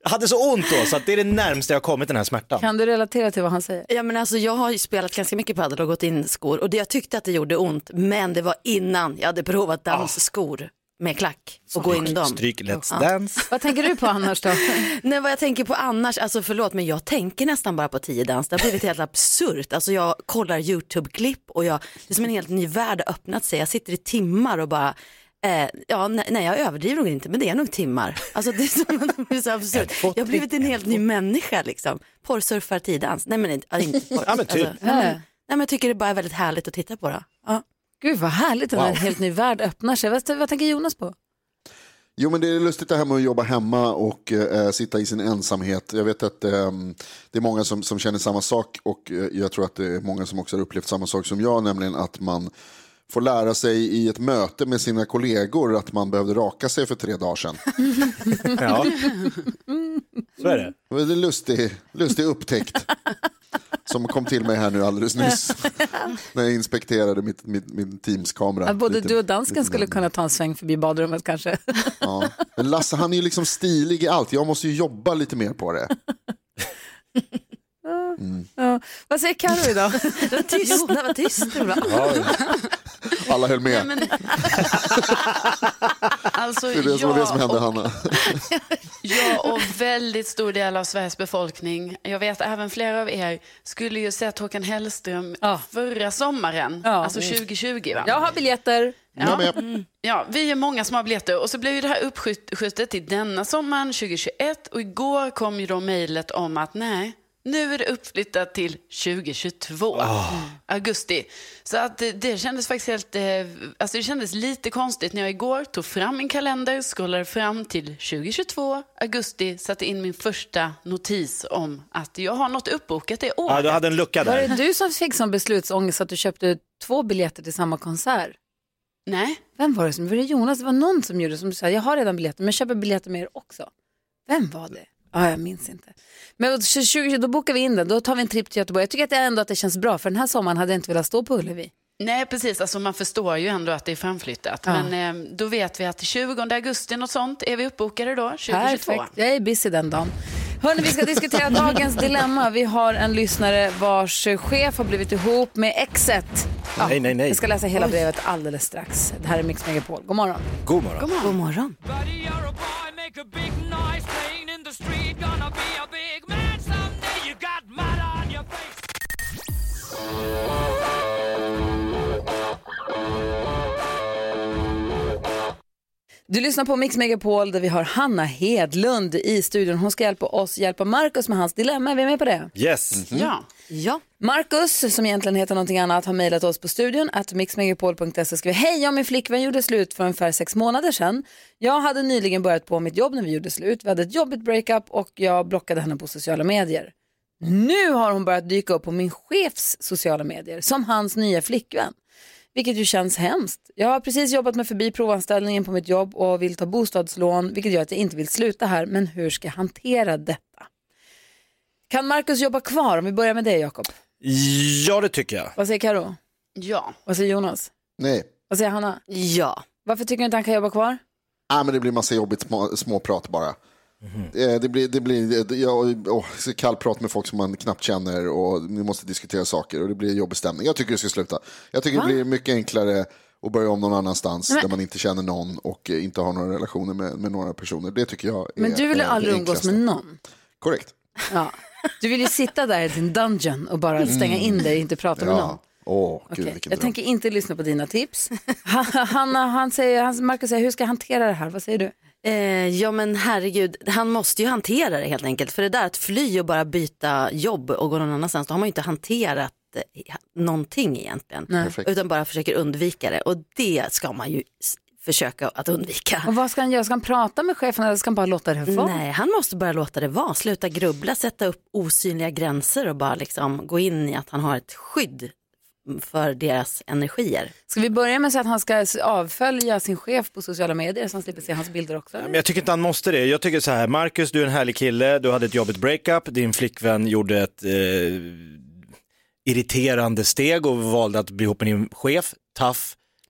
hade så ont då, så att det är det närmaste jag har kommit den här smärtan.
Kan du relatera till vad han säger?
Ja, men alltså, jag har ju spelat ganska mycket padel och gått in i skor och det, jag tyckte att det gjorde ont men det var innan jag hade provat dansskor med klack och gå in i dem.
Stryk Let's
Ja.
Dance.
Vad tänker du på annars då?
Nej vad jag tänker på annars, alltså förlåt men jag tänker nästan bara på tiodans. Det har blivit helt absurt. Alltså jag kollar YouTube-klipp och jag, det är som en helt ny värld har öppnat sig. Jag sitter i timmar och bara, eh, ja nej, nej jag överdriver nog inte men det är nog timmar. Alltså det är som att det blir så absurt. Jag har blivit en helt ny människa liksom. Porrsurfar tiodans, nej men inte, ja, inte porr.
Ja, men typ.
Alltså, nej, men, nej men jag tycker det bara är väldigt härligt att titta på det. Ja.
Gud vad härligt, en
Wow.
helt ny värld öppnar sig. Vad, vad tänker Jonas på?
Jo men det är lustigt det här med att jobba hemma och eh, sitta i sin ensamhet. Jag vet att eh, det är många som, som känner samma sak och eh, jag tror att det är många som också har upplevt samma sak som jag, nämligen att man får lära sig i ett möte med sina kollegor att man behövde raka sig för tre dagar sedan.
Ja. Så är det.
Det var en lustig, lustig upptäckt som kom till mig här nu alldeles nyss när jag inspekterade mitt, mitt, min Teams-kamera.
Att både
Lite-
du och dansken
lite
skulle kunna ta en sväng förbi badrummet kanske.
Ja. Men Lasse han är ju liksom stilig i allt, jag måste ju jobba lite mer på det. Mm.
[LAUGHS] Ja. Vad säger Carro idag?
Vad tyst, nej, vad tyst du var.
Alla höll med.
Alltså,
Det är det som var det som
jag
hände Hanna.
Jag och väldigt stor del av Sveriges befolkning, jag vet även flera av er, skulle ju sett Håkan Hellström förra sommaren, alltså 2020. Va?
Jag har biljetter.
Ja.
Mm.
ja, vi är många som har biljetter och så blev ju det här uppskjutet till denna sommaren 2021 och igår kom ju då mejlet om att nej, nu är det uppflyttat till 2022,
Ah.
augusti. Så att eh, det kändes faktiskt helt, eh, alltså det kändes lite konstigt när jag igår tog fram min kalender, scrollade fram till 2022, augusti, satte in min första notis om att jag har något uppbokat det året.
Ja, du hade en lucka
Var
där.
det du som fick som beslutsångest att du köpte två biljetter till samma konsert?
Nej.
Vem var det som, var det Jonas? Det var någon som gjorde som du sa, jag har redan biljetter men jag köper biljetter med er också. Vem var det? Ja, jag minns inte. Men då- 2020, då bokar vi in den, då tar vi en tripp till Göteborg. Jag tycker att det ändå att det känns bra för den här sommaren hade jag inte velat stå på Ullevi.
Nej, precis. Alltså, man förstår ju ändå att det är framflyttat.
Ja.
Men eh, då vet vi att 20 augusti, något sånt, är vi uppbokade då, 2022.
Perfekt, jag är busy den dagen. Hörni, vi ska diskutera dagens dilemma. Vi har en lyssnare vars chef har blivit ihop med exet. Ja,
Nej, nej, nej.
Jag ska läsa hela brevet alldeles strax. Det här är Mix Megapol. God morgon.
God morgon.
God morgon. God morgon. Du lyssnar på Mix Megapol där vi har Hanna Hedlund i studion. Hon ska hjälpa oss hjälpa Markus med hans dilemma. Är vi med på det?
Yes.
Mm-hmm.
Mm. Ja.
Ja. Marcus, som egentligen heter någonting annat, har mejlat oss på studion att mixmegapol.se skriver Hej, jag och min flickvän gjorde slut för ungefär sex månader sedan. Jag hade nyligen börjat på mitt jobb när vi gjorde slut. Vi hade ett jobbigt breakup och jag blockade henne på sociala medier. Nu har hon börjat dyka upp på min chefs sociala medier som hans nya flickvän. Vilket ju känns hemskt. Jag har precis jobbat mig förbi provanställningen på mitt jobb och vill ta bostadslån vilket gör att jag inte vill sluta här. Men hur ska jag hantera detta? Kan Marcus jobba kvar? Om vi börjar med dig Jakob.
Ja, det tycker jag.
Vad säger Karo?
Ja.
Vad säger Jonas?
Nej.
Vad säger Hanna?
Ja.
Varför tycker du inte han kan jobba kvar?
Ah, Nej, men det blir massa jobbigt små, småprat bara. Eh, Det blir, det blir det- jag, åh, så kallprat med folk som man knappt känner och ni måste diskutera saker och det blir jobbig stämning. Jag tycker det ska sluta. Jag tycker
Va?
det blir mycket enklare att börja om någon annanstans
Nej, men-
där man inte känner någon och eh, inte har några relationer med, med några personer. Det tycker jag är
Men du vill ju
eh, det
aldrig umgås
enklaste.
med någon.
Korrekt.
Ja. Du vill ju sitta där i din dungeon och bara
Mm.
stänga in dig och inte prata med någon.
Åh, gud
Okej,
vilken dröm.
Jag tänker inte lyssna på dina tips. Han- Hanna, han säger, han, Marcus säger, hur ska jag hantera det här? Vad säger du?
Eh, ja men herregud, han måste ju hantera det helt enkelt. För det där att fly och bara byta jobb och gå någon annanstans, då har man ju inte hanterat eh, någonting egentligen.
Nej. Perfekt.
Utan bara försöker undvika det. Och det ska man ju s- försöka att undvika.
Och vad ska han göra? Ska han prata med chefen eller ska han bara låta det vara?
Nej, han måste bara låta det vara. Sluta grubbla, sätta upp osynliga gränser och bara liksom gå in i att han har ett skydd för deras energier.
Ska vi börja med så att han ska s- avfölja sin chef på sociala medier så han slipper se hans bilder också?
Men jag tycker inte han måste det. Jag tycker så här, Marcus du är en härlig kille, du hade ett jobbigt breakup, din flickvän gjorde ett eh, irriterande steg och valde att bli ihop med din chef, tough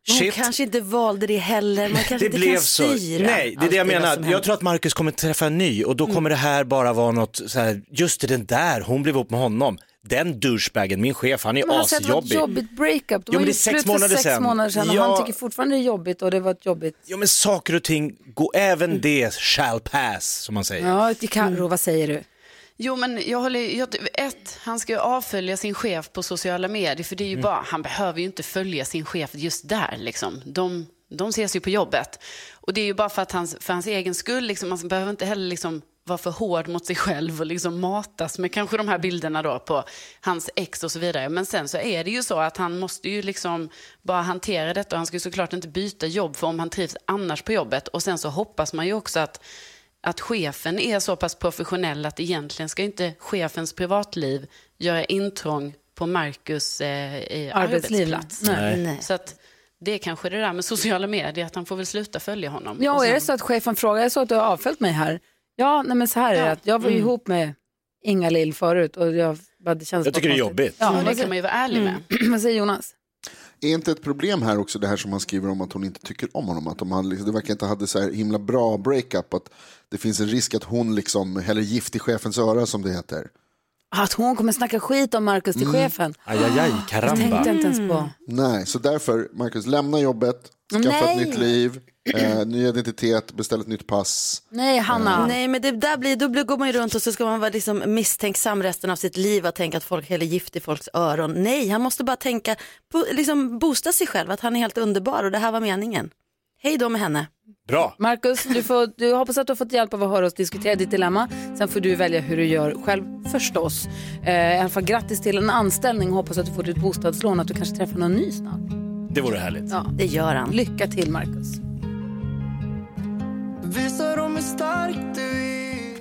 Men Hon
shit.
kanske inte valde det heller, man
Alltså,
kanske inte kan styra.
Nej, det är det jag
alltid vad som
menar.
händer.
Jag tror att Marcus kommer träffa en ny och då
Mm.
kommer det här bara vara något så här, just det, den där, hon blev ihop med honom. Den douchebagen, min chef, han är
Men han säger att det var ett
asjobbig.
jobbigt breakup.
Jo,
De
men
var
det är
ju
sex
slut för
månader
sex
sedan.
månader sedan och
Ja.
han tycker fortfarande det är jobbigt och det var ett jobbigt.
Ja men saker och ting, gå, även det shall pass som man säger.
Mm. Ja, till Carro, vad säger du?
Jo, men jag håller jag, ett, han ska ju avfölja sin chef på sociala medier, för det är ju
Mm.
bara, han behöver ju inte följa sin chef just där liksom. De, de ses ju på jobbet. Och det är ju bara för, att hans, för hans egen skull, liksom, man behöver inte heller liksom vara för hård mot sig själv och liksom matas med kanske de här bilderna då på hans ex och så vidare. Men sen så är det ju så att han måste ju liksom bara hantera detta och han ska ju såklart inte byta jobb för om han trivs annars på jobbet. Och sen så hoppas man ju också att att chefen är så pass professionell att egentligen ska inte chefens privatliv göra intrång på Marcus eh, i
Arbetsliv.
arbetsplats.
Nej. Nej.
Så att det är kanske det där med sociala medier, att han får väl sluta följa honom.
Ja,
Och
och är
sen-
det så att chefen frågar, jag såg att du har avföljt mig här. Ja, nej men så här är det, att jag var ju
Mm.
ihop med Inga-Lill förut och jag, bara- det kändes
Jag tycker
bara
det är
konstigt.
jobbigt.
Ja,
Men
vad
det Mm.
säger-
kan man ju vara ärlig
Mm.
med.
[CLEARS THROAT] Vad säger Jonas?
Är inte ett problem här också det här som han skriver om att hon inte tycker om honom? Att de hade, liksom- det verkar inte hade så här himla bra breakup. Att det finns en risk att hon liksom häller gift i chefens öra som det heter.
Att hon kommer snacka skit om Markus till
Mm.
chefen.
Aj, aj, aj,
Det
karamba.
tänkte jag inte ens på.
Nej, så därför, Marcus, lämna jobbet, skaffa
Nej.
ett nytt liv, eh, ny identitet, beställ ett nytt pass.
Nej,
Mm.
Hanna.
Nej, men det där blir, då blir, går man ju runt och så ska man vara liksom misstänksam resten av sitt liv och tänka att folk häller gift i folks öron. Nej, han måste bara tänka, på, liksom boosta sig själv att han är helt underbar och det här var meningen. Hej då med henne.
Bra.
Markus, du, får- du jag hoppas att du har fått hjälp av att höra oss diskutera ditt dilemma. Sen får du välja hur du gör själv förstås. Eh, I alla fall grattis till en anställning och hoppas att du får ditt bostadslån och att du kanske träffar någon ny snart.
Det vore härligt.
Ja.
Det gör han.
Lycka till Markus.
Visa dem hur stark du är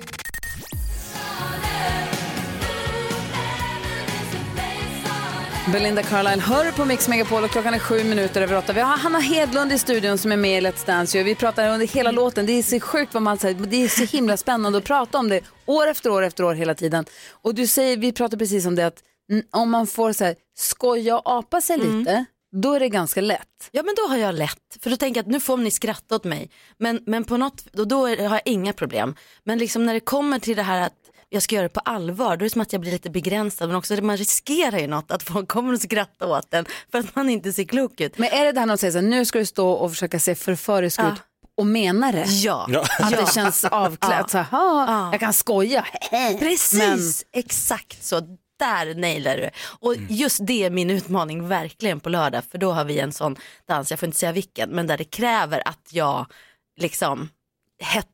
Belinda Carlisle hör på Mix Megapol och klockan är sju minuter över åtta. Vi har Hanna Hedlund i studion som är med i Let's Dance. Vi pratar under hela låten. Det är så sjukt vad man säger. Det är så himla spännande att prata om det år efter år efter år hela tiden. Och du säger, vi pratar precis om det att mm, om man får så här, skoja och apa sig lite, då är det ganska lätt.
Ja, men då har jag lätt. För då tänker jag att nu får ni skratta åt mig. Men, men på något, då, då är- har jag inga problem. Men liksom när det kommer till det här att jag ska göra det på allvar, då är det som att jag blir lite begränsad. Men också, man riskerar ju något, att folk kommer att skratta åt en för att man inte ser klok ut.
Men är det det här när de säger så här, nu ska du stå och försöka se förförisk ut och mena det?
Ja. Ja.
Att
Ja.
det känns avklätt. Så här, "Ha, jag kan skoja. [LAUGHS]
Precis,
Men-
exakt så. Där nailar du. Och
Mm.
just det är min utmaning verkligen på lördag. För då har vi en sån dans, jag får inte säga vilken, men där det kräver att jag liksom het,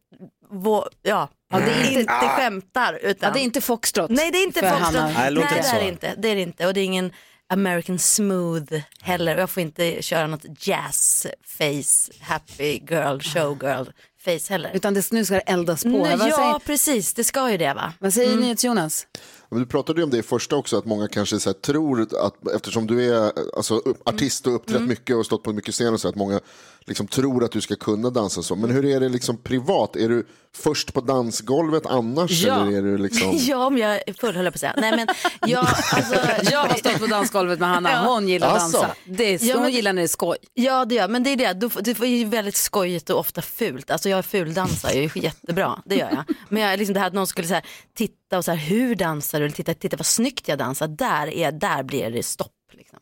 vå, ja,
Ja, det är inte-
inte,
Ah.
skämtar. Utan,
Ja, det är inte foxtrot.
Nej, det är inte
för
foxtrot.
Hanna.
Nej, det är det inte. Det är det inte. Och det är ingen American smooth heller. Och jag får inte köra något jazz face, happy girl, showgirl face heller.
Utan det, nu ska det eldas på.
Nej,
Vad
ja,
säger-
precis. Det ska ju det, va?
Vad säger mm. NyhetsJonas?
Men Du pratade ju om det i första också, att många kanske så här, tror att eftersom du är eh, alltså, upp- artist och uppträtt mycket och stått på mycket scener och så, att många liksom tror att du ska kunna dansa så. Men hur är det liksom privat? Är du först på dansgolvet annars?
Ja.
Eller är du
[LAUGHS]
liksom...
[LAUGHS] ja, om jag är full höll jag på att säga. Nej, men jag, alltså,
[LAUGHS] Jag har stått på dansgolvet med Hanna. Hon gillar att
Alltså.
dansa. Det är,
Ja,
hon
men-
gillar när det är skoj.
Ja, det gör Men det är det, Du- det är ju väldigt skojigt och ofta fult. Alltså jag fuldansar ju jättebra, det gör jag. Men jag, liksom det här att någon skulle så här, titta och så här, hur dansar du? Eller titta, titta vad snyggt jag dansar. Där, är, där blir det stopp. liksom.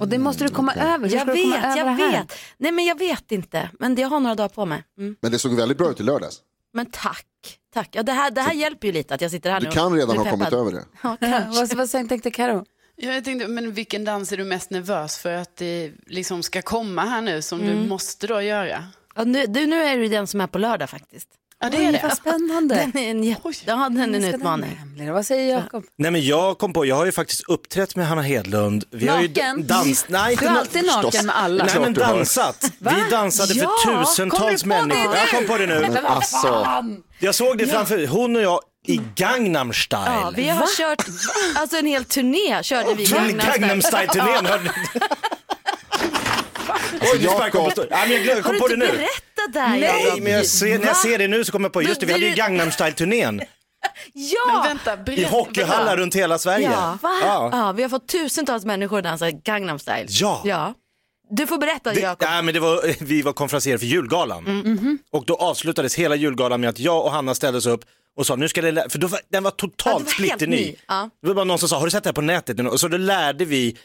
Och det måste du komma över. Hur
Jag
ska du komma
vet,
över
jag
det här?
vet. Nej men jag vet inte. Men det- jag har några dagar på mig. Mm.
Men det såg väldigt bra ut i lördags.
Men tack. Tack. Ja, det, här, det här hjälper ju lite att jag sitter här
Du
nu.
kan
och
redan
blir
ha kommit
peppad.
över det.
vad, vad tänkte Karo?
Ja, jag tänkte, men vilken dans är du mest nervös för att det liksom ska komma här nu som
Mm.
du måste då göra?
Ja, nu, du, nu är det ju den som är på lördag faktiskt.
Ja, det är det.
Vad
spännande.
Den är en, jätte- ja, den är en
ska den
utmaning.
Vad säger Jakob?
Nej men jag kom på, jag har ju faktiskt uppträtt med Hanna Hedlund. Vi har ju d-
Naken?
dans... Nej, inte
Du är
na-
alltid naken
Förstås.
med alla.
Nej men
Klart du har.
dansat.
Va?
Vi dansade
Ja,
för
kommer du
tusentals
på det
människor.
nu?
Jag kom på det nu.
Men vad Alltså. fan?
Jag såg det framför hon och jag i Gangnam style.
Mm. Ja, vi har kört alltså en hel turné körde vi
Gangnam style-turnén.
Ja.
hörde ni? Oj, nu sparkar jag på stor- Nej, men jag glömde- kom
Har du
på det
inte
nu.
berättat det här?
Nej,
Jakob?
men jag ser, när
Va?
jag ser det nu så kommer jag på, just det, vi hade ju
du-
Gangnam style-turnén.
Ja!
Men vänta, berätta.
I hockeyhallar runt hela Sverige.
Ja. Va? Ja.
Ja.
vi har fått tusentals människor att dansa Gangnam style.
Ja.
Du får berätta
Det,
Jakob. Mm.
nej,
Mm-hmm.
men det var, vi var konferenser för julgalan och då avslutades hela julgalan med att jag och Hanna ställdes upp och sa nu ska det, lä-" för då var, den var totalt splitterny.
Ja.
Det var bara någon som sa har du sett det här på nätet? Och så då lärde vi,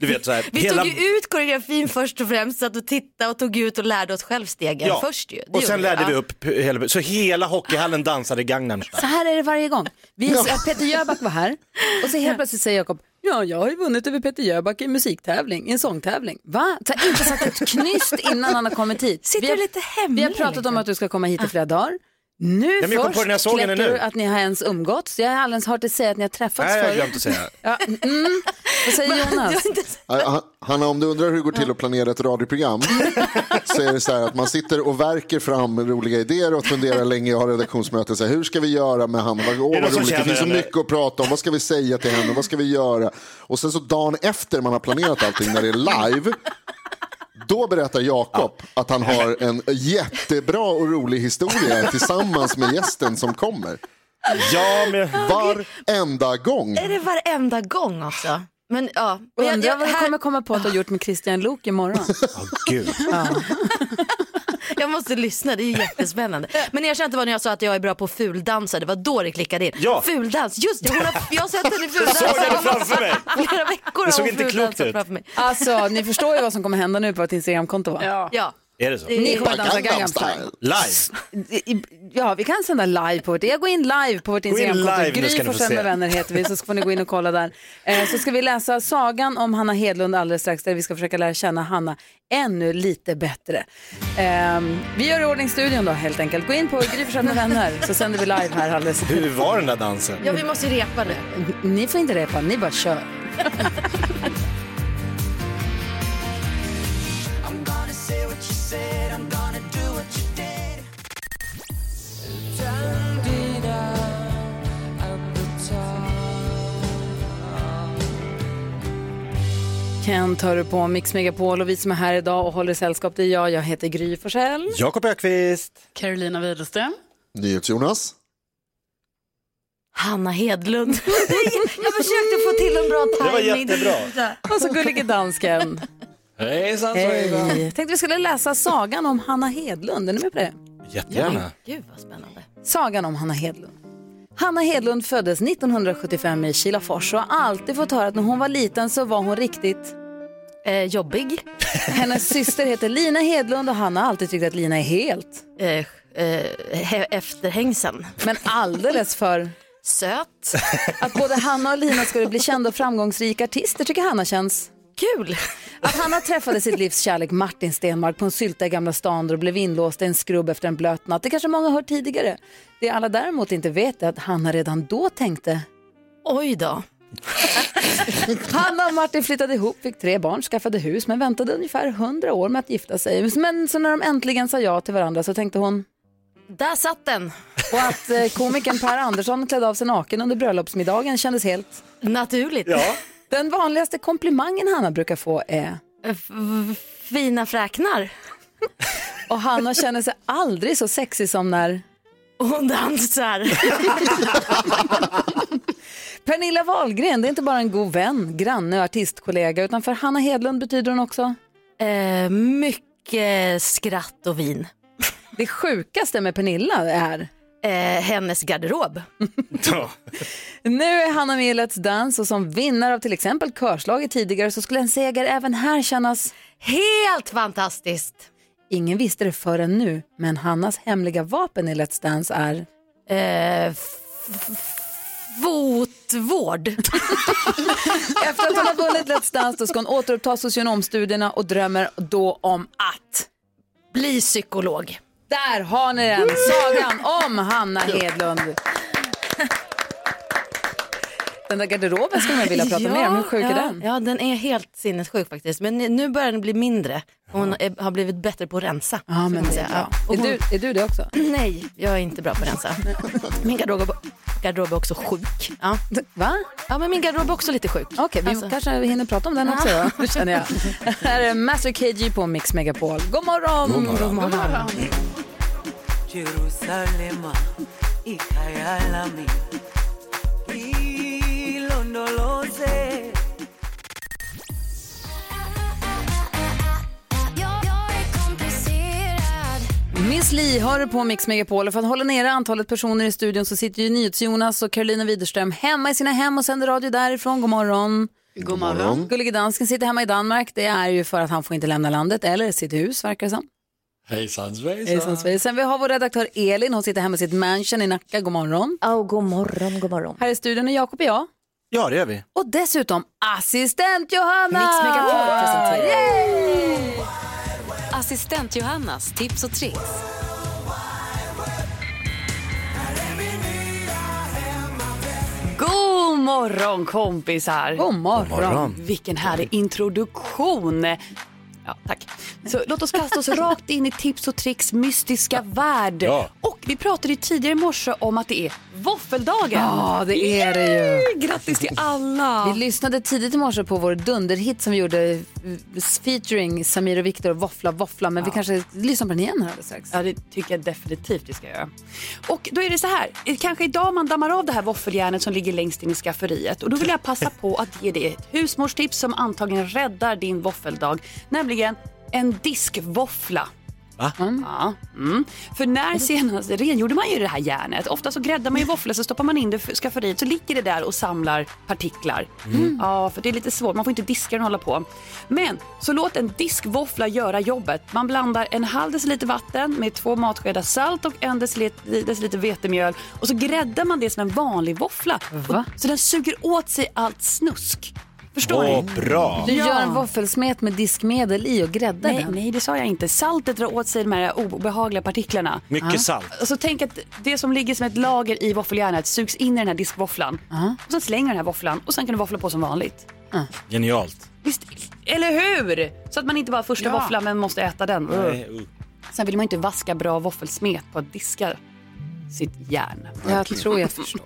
du vet så här,
[LAUGHS] Vi tog ju ut koreografin först och främst, satt och tittade och tog ut och lärde oss självstegen först ju. Det
och
gjorde
sen lärde vi
Ja.
upp hela, så hela hockeyhallen dansade Gangnam style.
Så här är det varje gång. Vi, Peter Jöback var här och så helt plötsligt säger Jakob, ja jag har ju vunnit över Peter Jöback i en musiktävling, i en sångtävling. Va? Så har inte sagt ett knyst innan han har kommit hit.
Sitter
vi har,
du lite hemlig,
Vi har pratat om att du ska komma hit i flera dagar. Nu
men jag kom
först
på det när jag såg henne
kläcker
nu.
du att ni har ens umgåtts. Jag har aldrig ens hört dig säga att ni har träffats
Nej, jag har
förut.
glömt att säga.
Ja, mm.
[LAUGHS]
Vad säger Jonas?
Eh, Han- Hanna, om du undrar hur det går till att planera ett radioprogram så är det så här att man sitter och verkar fram roliga idéer och funderar länge och har redaktionsmöten. Så här, hur ska vi göra med Hanna? Vad, åh,
någon
vad
som
roligt, det
känner
finns så
henne?
mycket att prata om. Vad ska vi säga till henne? Vad ska vi göra? Och sen så dagen efter man har planerat allting när det är live då berättar Jakob att han har en jättebra och rolig historia tillsammans med gästen som kommer.
Ja,
[LAUGHS]
men...
Varenda gång.
Är det varenda gång också? Men ja. Men jag-
Undrar
jag-
vad du
här-
kommer komma på att du har gjort med Christian Lok imorgon.
Gud.
Jag måste lyssna, det är ju jättespännande. Men jag kände att det var när jag sa att jag är bra på fuldansa, det var då det klickade in.
Ja.
Fuldans, just det, hon har, jag har sett henne fuldansa.
Jag såg henne framför mig.
[LAUGHS] Flera veckor
Det
har
såg
hon
inte klokt
fuldansat
ut.
framför mig.
Alltså, ni förstår ju vad som kommer hända nu på ett Instagramkonto va?
Ja.
Är det så?
Ni kommer dansa Gangnam style.
Live.
I- i- Ja, vi kan sända live på vårt, jag går in live på vårt
Gå in
Instagramkonto,
live nu ska
Gry
ni få
Forssell med
se.
vänner heter vi, så får ni gå in och kolla där. Eh, Så ska vi läsa sagan om Hanna Hedlund alldeles strax, där vi ska försöka lära känna Hanna ännu lite bättre. Ehm, Vi gör i ordning studion då helt enkelt, gå in på Gry Forssell med vänner, så sänder vi live här alldeles.
Hur var den där dansen?
Ja, vi måste ju repa nu.
Ni får inte repa, ni bara kör.
I'm gonna say what you said, I'm gonna do what you did. Turn it up at the top.
Kent hör du på Mix Megapol och vi som är här idag och håller sällskap, det är jag, jag heter Gry Forssell.
Jakob Ökvist.
Carolina Widerström.
NyhetsJonas.
Hanna Hedlund. jag försökte få till en bra
Det var
timing.
jättebra. Och så gullige dansken.
Hejsan
Hej.
svejsan.
Tänkte vi skulle läsa sagan om Hanna Hedlund. Är ni med på det?
Jättegärna.
Gud vad spännande.
Sagan om Hanna Hedlund. Hanna Hedlund föddes 1975 i Kilafors och har alltid fått höra att när hon var liten så var hon riktigt
[LAUGHS]
eh,
jobbig.
Hennes syster heter Lina Hedlund och Hanna har alltid tyckt att Lina är helt
Eh, efterhängsen.
Men alldeles för
[LAUGHS] söt.
Att både Hanna och Lina skulle bli kända och framgångsrika artister tycker Hanna känns
kul.
Att Hanna träffade sitt livs kärlek Martin Stenmark på en sylta i Gamla stan och blev inlåst i en skrubb efter en blöt natt. Det kanske många har hört tidigare. Det alla däremot inte vet är att Hanna redan då tänkte
Oj då.
Hanna och Martin flyttade ihop, fick tre barn, skaffade hus men väntade ungefär 100 år med att gifta sig. Men så när de äntligen sa ja till varandra så tänkte hon
Där satt den.
Och att eh, komikern Per Andersson klädde av sig naken under bröllopsmiddagen kändes helt
naturligt.
Ja.
Den
Eh,
vanligaste komplimangen Hanna brukar få är
F- f- Fina fräknar.
[LAUGHS] Och Hanna känner sig aldrig så sexig som när
hon dansar.
Pernilla Wahlgren, det är inte bara en god vän, granne och artistkollega, utan för Hanna Hedlund betyder hon också?
Eh, mycket skratt och vin.
[LAUGHS] Det sjukaste med Pernilla är?
hennes garderob.
Nu är Hanna med i Let's Dance och som vinnare av till exempel körslaget tidigare så skulle en seger även här kännas
helt fantastiskt.
Ingen visste det förrän nu, men Hannas hemliga vapen i Let's Dance är?
Fotvård.
Efter att hon har vunnit Let's Dance då ska hon återuppta socionomstudierna och drömmer då om att
bli psykolog.
Där har ni den, sagan om Hanna Hedlund. Den där garderoben skulle man vilja prata mer om, hur sjuk
ja,
är den?
Ja, den är helt sinnessjuk faktiskt. Men nu börjar den bli mindre. Hon är, har blivit bättre på att rensa. Ja,
men det är bra. Är du, är du det också?
Nej, jag är inte bra på att rensa. Min garderob, garderob är också sjuk. Ja.
Va?
Ja, men min garderob är också lite sjuk. Okej,
vi
Alltså.
kanske hinner prata om den också då, det [LAUGHS] känner jag. Här är Master KG på Mix Megapol. God morgon!
God morgon. God morgon.
Jerusalema, hija y alami, ilondoloze.
Miss Li har du på Mix Megapol och för att hålla nere antalet personer i studion så sitter ju NyhetsJonas och Carolina Widerström hemma i sina hem och sänder radio därifrån. God morgon.
God morgon.
Gullige dansken sitter hemma i Danmark. Det är ju för att han får inte lämna landet eller sitt hus verkar det som.
Hejsan
Hejsan
svejsan.
Sverige. Sen vi har vår redaktör Elin, hon sitter hemma i sitt mansion i Nacka. God morgon.
Oh, god morgon, god morgon.
Här i studion är Jakob och jag.
Ja, det gör vi.
Och dessutom assistent Johanna!
Mix Megapol presenterar.
Yay!
Assistent Johannas tips och tricks.
God morgon kompisar! God
morgon!
God
morgon.
Vilken härlig introduktion! Ja, tack. Så låt oss kasta oss rakt in i tips och tricks mystiska värld.
Ja.
Och vi pratade ju tidigare i morse om att det är våffeldagen.
Ja, det är det ju.
Yay! Grattis till alla!
Vi lyssnade tidigt i morse på vår dunderhit som vi gjorde eh, featuring Samir och Viktor, Våffla våffla, men vi kanske lyssnar på den igen här alldeles strax.
Ja, det tycker jag definitivt vi ska göra. Och då är det så här, eh, kanske idag man dammar av det här våffeljärnet som ligger längst in i skafferiet. Och då vill jag passa på att ge dig ett husmorstips som antagligen räddar din våffeldag. Nämligen en diskvåffla.
Va?
Ja, mm. För när senast rengjorde man ju det här järnet. Ofta så gräddar man ju våfflor så stoppar man in det i skafferiet så ligger det där och samlar partiklar.
Mm.
Ja, för det är lite svårt. Man får inte diska den och hålla på. Men så låt en diskvåffla göra jobbet. Man blandar en halv deciliter vatten med två matskedar salt och en deciliter, deciliter vetemjöl och så gräddar man det som en vanlig våffla. Och- Så den suger åt sig allt snusk. Förstår
Åh,
ni?
bra.
Du gör en våffelsmet med diskmedel i och gräddar
nej,
den.
Nej, det sa jag inte. Saltet drar åt sig de här obehagliga partiklarna.
Mycket Ja. salt.
Alltså, tänk att det som ligger som ett lager i våffeljärnet sugs in i den här diskvåfflan. Och sen slänger den här våfflan och sen kan du våffla på som vanligt.
Genialt.
Eller hur? Så att man inte bara första våfflan men måste äta den.
Nej,
Mm. Sen vill man ju inte vaska bra våffelsmet på att diska sitt järn.
Jag tror jag förstår.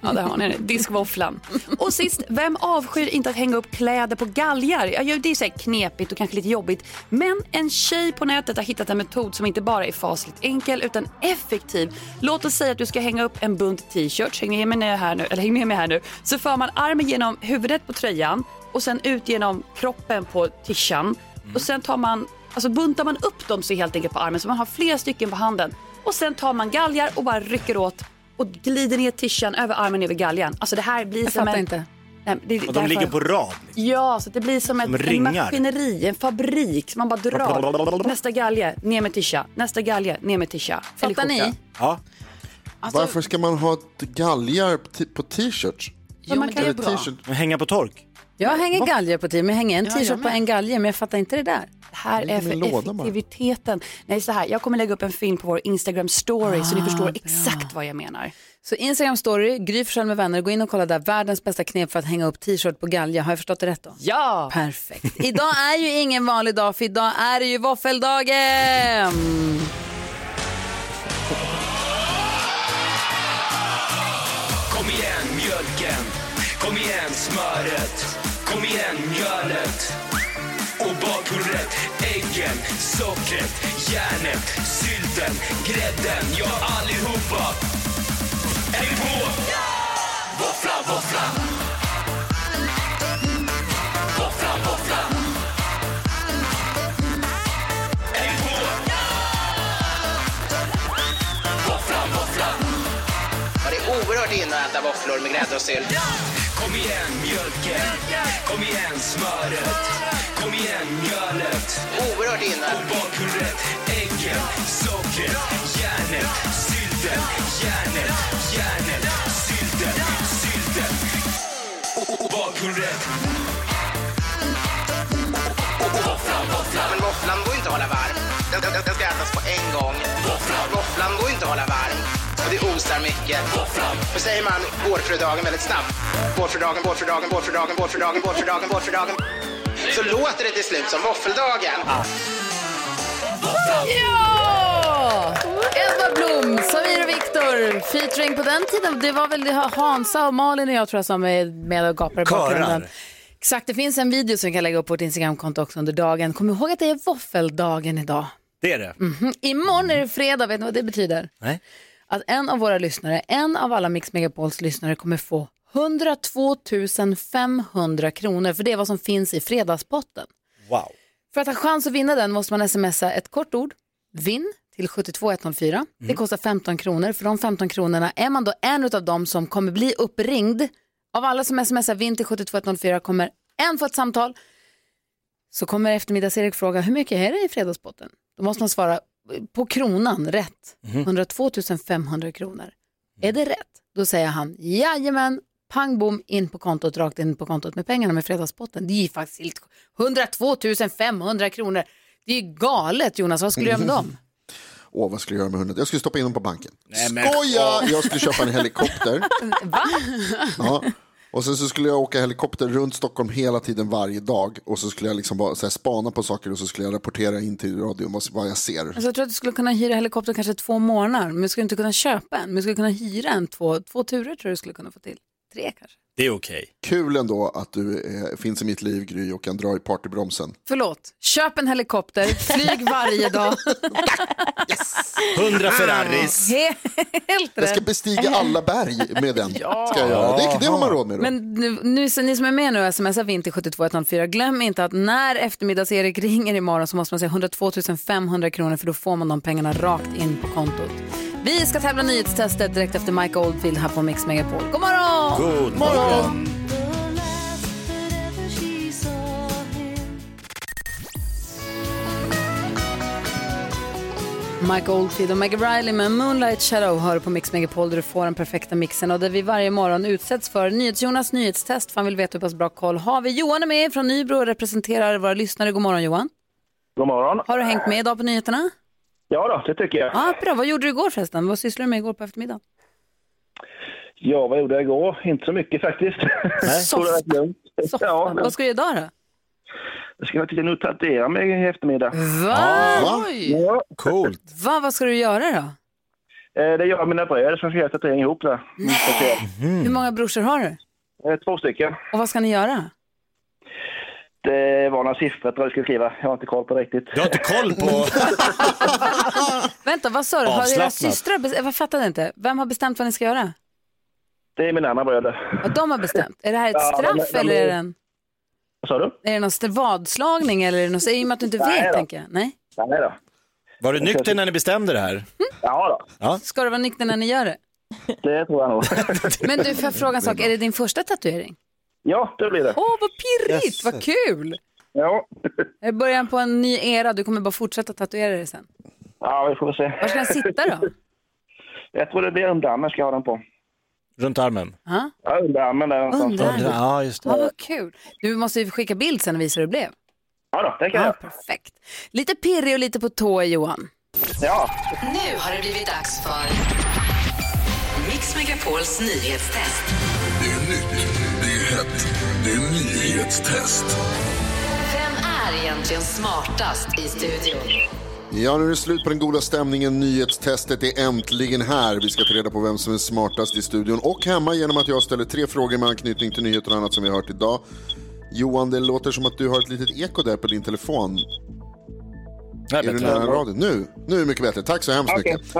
Ja, där har ni det. Diskvåfflan. Och sist, vem avskyr inte att hänga upp kläder på galgar? Ja, ju, det är så här knepigt och kanske lite jobbigt. Men en tjej på nätet har hittat en metod som inte bara är fasligt enkel utan effektiv. Låt oss säga att du ska hänga upp en bunt t-shirts. Häng med mig nu här nu. Eller häng med mig här nu. Så för man armen genom huvudet på tröjan och sen ut genom kroppen på tishan. Och sen tar man, alltså buntar man upp dem så helt enkelt på armen så man har flera stycken på handen. Och sen tar man galgar och bara rycker åt och glider ner tishan över armen över galgen. Alltså det här blir som
fattar
en...
inte.
Nej, men det,
Och de
därför-
ligger på rad. liksom.
Ja, så att det blir som,
Som
ett, en
ringar.
maskineri, en fabrik. som Man bara drar. Nästa galge, ner med tisha. Nästa galge, ner med tisha. Eller
Fattar ni?
skjorta.
Ja.
Varför ska man ha ett galgar på t- på t-shirts?
Jo, men det är bra.
Hänga på tork?
Jag hänger galge på tiden, men jag hänger en
Ja,
t-shirt
jag
på
med.
en galge, men jag fattar inte det där.
Det här är för effektiviteten. Nej, så här. Jag kommer lägga upp en film på vår Instagram story så ni
Ah,
förstår exakt vad jag menar.
Så Instagram story, Gry Forssell med vänner, gå in och kolla där, världens bästa knep för att hänga upp t-shirt på galge. Har jag förstått det rätt då?
Ja!
Perfekt. Idag är ju ingen vanlig dag, för idag är det ju våffeldagen!
Kom igen mjölken, kom igen smöret, kom igen mjölet och bakpulvret, äggen,
sockret, järnet, sylten, grädden, ja allihopa. Är vi på? Våffla, våffla. Våffla, våffla. Är vi på? Våffla, våffla.
Ja, det är oerhört inne att äta våfflor med grädde och sylt.
Kom igen mjölken, kom igen smöret, kom igen mjölet. Oerhört inne. Och bakhuvudet, äggen, sockret, järnet, sylten, järnet, järnet, sylten, sylten. Och- Och bakhuvudet.
Våfflan, våfflan. Men våfflan går inte att hålla varm. Den, den, den ska ätas på en gång. Våfflan. Våfflan går inte att hålla varm. Och det osar mycket. Våfflan. Då säger man gårdfrudagen väldigt snabbt. Gårdfrudagen, gårdfrudagen, gårdfrudagen, gårdfrudagen, gårdfrudagen, gårdfrudagen. Så låter det till slut som våffeldagen.
Ja! Edvard Blom, Samir och Viktor. Featuring på den tiden, det var väl det Hansa och Malin och jag tror jag som är med och gapar i bakgrunden.
Körar.
Exakt, det finns en video som vi kan lägga upp på vårt Instagramkonto också under dagen. Kom ihåg att det är våffeldagen idag.
Det är det.
Mhm. Imorgon är det fredag, vet ni vad det betyder?
Nej.
Att en av våra lyssnare, en av alla Mix Megapols lyssnare kommer få 102 500 kronor, för det är vad som finns i fredagspotten.
Wow.
För att ha chans att vinna den måste man smsa ett kort ord, vinn, till 72104. Det kostar 15 kronor. För de 15 kronorna är man då en av dem som kommer bli uppringd. Av alla som smsar vinn till 72104 kommer en få ett samtal. Så kommer eftermiddags-Erik fråga, hur mycket är det i fredagspotten? Då måste man svara eh, på kronan rätt, 102 500 kronor. Är det rätt? Då säger han, jajamän, pang bom, in på kontot, rakt in på kontot med pengarna med fredagspotten. Det är ju faktiskt helt 102 500 kronor. Det är ju galet Jonas, vad skulle du göra med dem?
Åh, vad skulle jag göra med hunden? Jag skulle stoppa in den på banken.
men-
Skoja!
Åh.
Jag skulle köpa en helikopter.
[LAUGHS] Va?
Ja. Och sen så skulle jag åka helikopter runt Stockholm hela tiden varje dag. Och så skulle jag liksom bara så här, spana på saker och så skulle jag rapportera in till radion vad, vad jag ser.
Alltså, jag tror att du skulle kunna hyra helikopter kanske två månader, men du skulle inte kunna köpa en, men du skulle kunna hyra en två, två turer tror jag du skulle kunna få till. Tre kanske.
Det är okej.
Kul ändå att du eh, finns i mitt liv, Gry, och kan dra i partybromsen.
Förlåt, köp en helikopter, flyg varje dag.
100 Ferraris.
[LAUGHS] Helt
Jag ska
rätt.
bestiga alla berg med
[LAUGHS]
den. Ska jag göra. Det, det har man råd med då.
Men nu, nu, så ni som är med nu och smsar vinter 72104, glöm inte att när eftermiddags-Erik ringer imorgon så måste man säga 102 500 kronor för då får man de pengarna rakt in på kontot. Vi ska tävla nyhetstestet direkt efter Mike Oldfield här på Mix Megapol. God morgon!
God morgon.
Mike Oldfield och Maggie Riley med Moonlight Shadow hör på Mix Megapol där du får den perfekta mixen och där vi varje morgon utsätts för NyhetsJonas nyhetstest för han vill veta hur pass bra koll har vi. Johan är med från Nybro och representerar våra lyssnare. God morgon Johan.
God morgon.
Har du hängt med idag på nyheterna?
Ja då, det tycker jag.
Ja, bra. Vad gjorde du igår förresten? Vad sysslade du med igår på eftermiddagen?
Ja, vad gjorde jag igår? Inte så mycket faktiskt. [LAUGHS] Tog det rätt lugnt. [LAUGHS] Ja,
Vad ska du göra idag då?
jag ska faktiskt nu tatuera mig i eftermiddag.
Va?
Ja.
Oj.
Ja.
Coolt.
Va, vad ska du göra då?
Eh, Det är jag och mina bröder som ska göra tatuering ihop där.
Hur många brorsor har du?
Eh, Två stycken.
Och vad ska ni göra?
Det var några siffror tror jag skulle skriva. Jag har inte koll på det riktigt.
Du har inte koll på...
Vänta, vad sa du? Har era
Avslappnat.
systrar bestämt? Jag fattade inte. Vem har bestämt vad ni ska göra?
Det är mina andra bröder.
Vad de har bestämt? Är det här ett
Ja, de-
straff
de-
eller är det en...
Vad sa du?
Är det någon st- vadslagning eller är det något, så- i och med att du inte
Nej
vet
då.
tänker jag. Nej.
Nej då.
Var du nykter när ni bestämde det här?
Ja då.
Ja.
Ska du vara nykter när ni gör det?
Det tror jag nog.
Men du, får jag fråga en sak? Är det din första tatuering?
Ja, det blir det.
Åh, vad pirrigt,
Jösses.
vad kul!
Ja.
Är det början på en ny era? Du kommer bara fortsätta tatuera dig sen.
Ja, vi får väl se.
Var ska den sitta då?
Jag tror det blir underarmen ska jag ha den på.
Runt armen?
Ja,
Ja, underarmen där någonstans.
Underarmen.
Ja, just
Ja, vad kul. Du måste ju skicka bild sen och visa hur det blev.
Ja då, det kan jag.
Perfekt. Lite pirrig och lite på tå är Johan.
Ja.
Nu har det blivit dags för Mix Megapols nyhetstest.
Det är nytt, det är hett, det är nyhetstest.
Vem är egentligen smartast i studion?
Ja, nu är det slut på den goda stämningen. Nyhetstestet är äntligen här. Vi ska ta reda på vem som är smartast i studion och hemma genom att jag ställer tre frågor med anknytning till nyheter och annat som vi har hört idag. Johan, det låter som att du har ett litet eko där på din telefon. Är du nära radion? Nu, nu är det mycket bättre. Tack så hemskt
Okej,
mycket.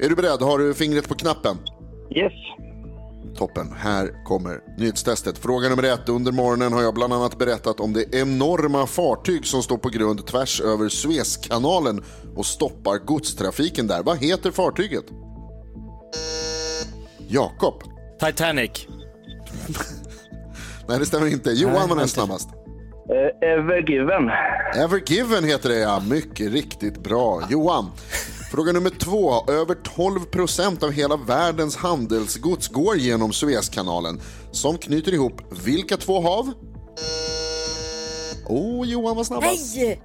Är du beredd? Har du fingret på knappen?
Yes.
Toppen, här kommer nyhetstestet. Fråga nummer ett. Under morgonen har jag bland annat berättat om det enorma fartyg som står på grund tvärs över Suezkanalen och stoppar godstrafiken där. Vad heter fartyget? Jakob.
Titanic.
Nej, det stämmer inte. Johan var den snabbast.
Eh, Evergiven.
Evergiven heter det ja, mycket riktigt bra. Johan, fråga nummer två. Över 12 procent av hela världens handelsgods går genom Suezkanalen som knyter ihop vilka två hav? Oh, Johan var snabbast.
Nej!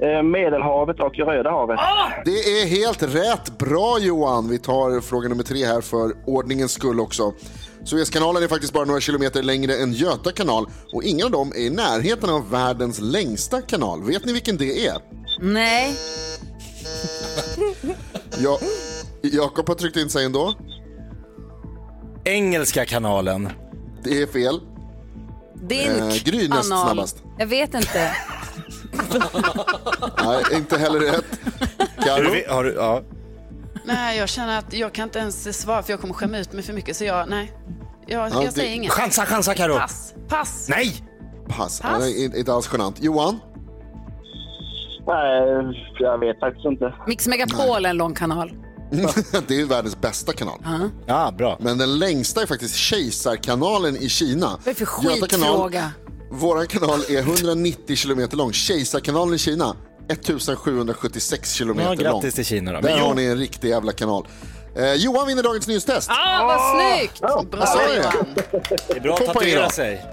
Eh, Medelhavet och Röda havet.
Det är helt rätt. Bra Johan. Vi tar fråga nummer tre här för ordningens skull också. Suezkanalen är faktiskt bara några kilometer längre än Göta kanal och ingen av dem är i närheten av världens längsta kanal. Vet ni vilken det är?
Nej.
Ja, Jakob har tryckt in sig ändå.
Engelska kanalen.
Det är fel.
Dink.
Eh, Gry näst
anal.
snabbast.
Jag vet inte.
Nej, inte heller rätt. Karo?
Har du, ja.
Nej, jag känner att jag kan inte ens svara för jag kommer skämma ut mig för mycket. Så jag, nej. Jag,
Ja,
jag
det-
säger inget.
chansa, chansa, Karo.
Pass, pass.
Nej!
Pass.
Pass.
Nej, inte- inte alls genant. Johan?
Nej, Eh, jag vet faktiskt inte.
Mix Megapol är en lång kanal.
[LAUGHS] det är ju världens bästa kanal.
Mm. Ja.
Ja, bra.
Men den längsta är faktiskt Kejsarkanalen i Kina.
Vad är det för
Göta kanal,
skitfråga?
vår kanal är 190 kilometer lång. Kejsarkanalen i Kina 1776 kilometer
Ja,
lång.
grattis till Kina då.
Där
Men
har
Jo-
ni en riktig jävla kanal. Eh, Johan vinner dagens nyhetstest.
Ah, vad snyggt!
Jag sa det.
Det är bra att
Hoppa in
tatuera
då.
sig.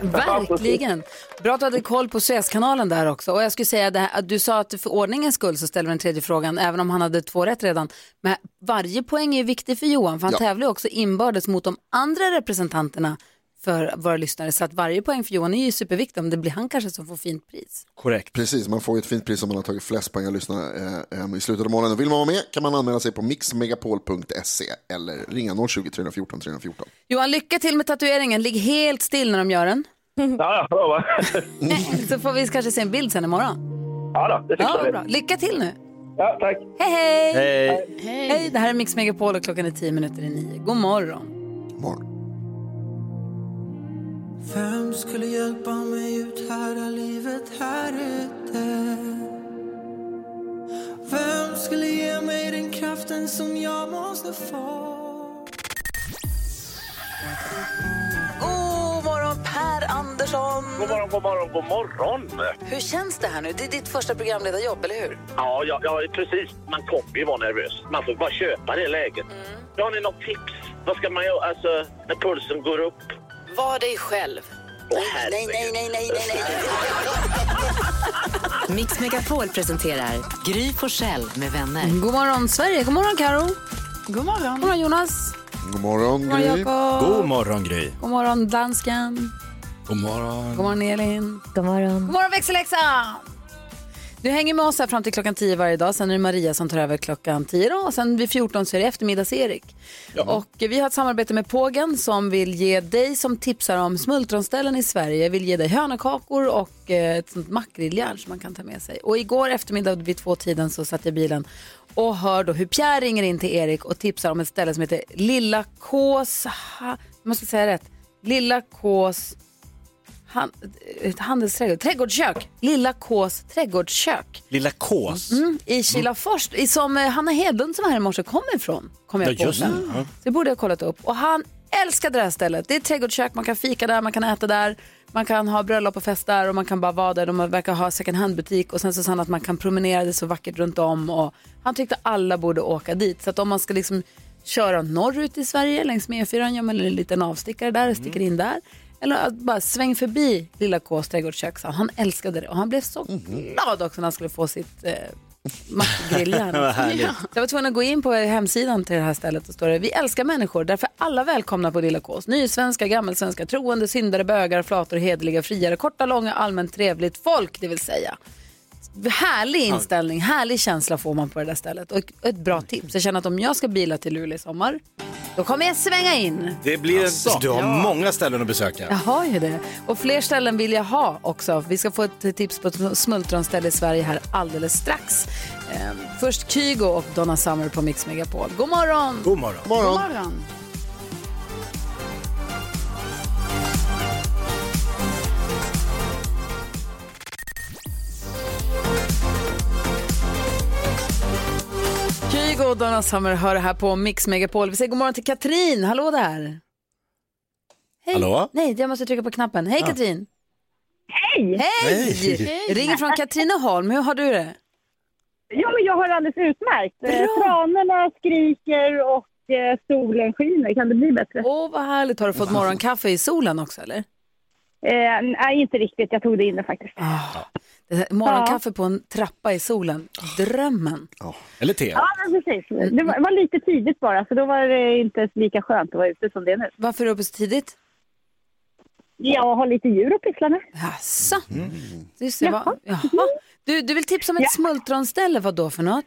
Verkligen. Bra att du hade koll på Suezkanalen där också. Och jag skulle säga det här, att du sa att för ordningens skull så ställer vi den tredje frågan, även om han hade två rätt redan. Men varje poäng är viktig för Johan, för han
Ja.
tävlar ju också inbördes mot de andra representanterna för våra lyssnare. Så att varje poäng för Johan är ju superviktig, om det blir han kanske som får fint pris.
Korrekt.
Precis, man får ju ett fint pris om man har tagit flest poäng och lyssnar eh, eh, i slutet av månaden. Vill man vara med kan man anmäla sig på mixmegapol.se eller ringa 020 314 314.
Johan, lycka till med tatueringen. Ligg helt still när de gör den.
Ja, ja, bra va?
[LAUGHS] Så får vi kanske se en bild sen imorgon.
Ja, då, det
Ja,
fixar vi.
bra. Lycka till nu.
Ja, tack.
Hej, hej!
Hej.
Hej. Det här är Mix Megapol och klockan är tio minuter i nio. God morgon.
Vem skulle hjälpa mig ut här av livet här ute? Vem skulle ge mig den kraften som jag måste få?
God morgon Per Andersson!
God morgon, god morgon, god morgon.
Hur känns det här nu? Det är ditt första programledarjobb, eller hur?
Ja, ja, ja precis. Man kommer ju vara nervös. Man får bara köpa det läget. Har ni något tips? Vad ska man göra alltså, när pulsen går upp?
Var dig själv.
nej, nej, nej, nej, nej,
Mix Megapol presenterar Gry Forssell med vänner.
God morgon Sverige, god morgon Karo.
God morgon. God
morgon Jonas.
God morgon
God morgon,
Gry.
Jakob. God
morgon Gry.
God morgon dansken.
God morgon.
God morgon Elin.
God morgon.
God morgon växelläxa! Du hänger med oss här fram till klockan 10 varje dag. Sen är det Maria som tar över klockan 10 då. och sen vid 14 så är det eftermiddags-Erik. Och vi har ett samarbete med Pågen som vill ge dig som tipsar om smultronställen i Sverige, vill ge dig hönakakor och eh, ett sånt makrillhjärn som man kan ta med sig. Och igår eftermiddag vid tvåtiden så satt jag i bilen och hör då hur Pierre ringer in till Erik och tipsar om ett ställe som heter Lilla Kås... Ha, jag måste säga rätt. Lilla Kås... Han, ett handelsträdgård, trädgårdskök. Lilla Kås trädgårdskök.
Lilla Kås.
Mm, I Kilafors, i- som eh, Hanna Hedlund som var här i morse kommer ifrån. Kom jag
Ja,
på
just
sen.
det. Ja.
Så det borde jag ha kollat upp. Och han älskade det här stället. Det är ett trädgårdskök, man kan fika där, man kan äta där. Man kan ha bröllop och fest där och man kan bara vara där. De verkar ha second hand-butik och sen så sa han att man kan promenera, det är så vackert runt om. Och han tyckte alla borde åka dit. Så att om man ska liksom köra norrut i Sverige längs E med E4, gör man en liten avstickare
Mm.
där och sticker in där. Eller att bara sväng förbi Lilla Ks trädgårdskök, sa han. Han älskade det och han blev så
Mm.
glad också när han skulle få sitt eh,
[LAUGHS]
grillhjärn.
Vad härligt.
Ja. Så jag var tvungen att gå in på hemsidan till det här stället och står det Vi älskar människor, därför är alla välkomna på Lilla Kås. Nysvenska, gammelsvenska, troende, syndare, bögar, flator, hederliga, friare, korta, långa, allmänt trevligt folk, det vill säga. Härlig inställning, härlig känsla får man på det där stället och ett bra tips. Jag känner att om jag ska bila till Luleå i sommar, Då kommer jag svänga in.
Det blir Alltså, Du har
Ja.
många ställen att besöka.
Jag har ju det. Och fler ställen vill jag ha också. Vi ska få ett tips på ett smultronställe i Sverige här alldeles strax. Ehm, först Kygo och Donna Summer på Mix Megapol. God morgon!
God morgon!
God morgon. Kygo och Donna Summer hör här på Mix Megapol. Vi säger god morgon till Katrin. Hallå där! Hej.
Hallå?
Nej, jag måste trycka på knappen. Hej
Ja.
Katrin!
Hej!
Hej!
Hej.
Ringer från Katrineholm. Hur har du det?
Ja, men jag har det alldeles utmärkt. Eh, Tranorna skriker och eh, solen skiner. Kan det bli bättre?
Åh, vad härligt. Har du fått morgonkaffe i solen också eller?
Eh, nej, inte riktigt. Jag tog det inne faktiskt.
Det här, morgonkaffe på en trappa i solen. Drömmen.
Eller te.
Ja, men precis. Det var, var lite tidigt bara, så då var det inte lika skönt att vara ute som det är nu.
Varför är du uppe så tidigt?
Jag har lite djur att pyssla med.
Jaså?
Mm.
Du, ser, vad, jaha. Du, du vill tipsa om ett smultronställe, vad då för något?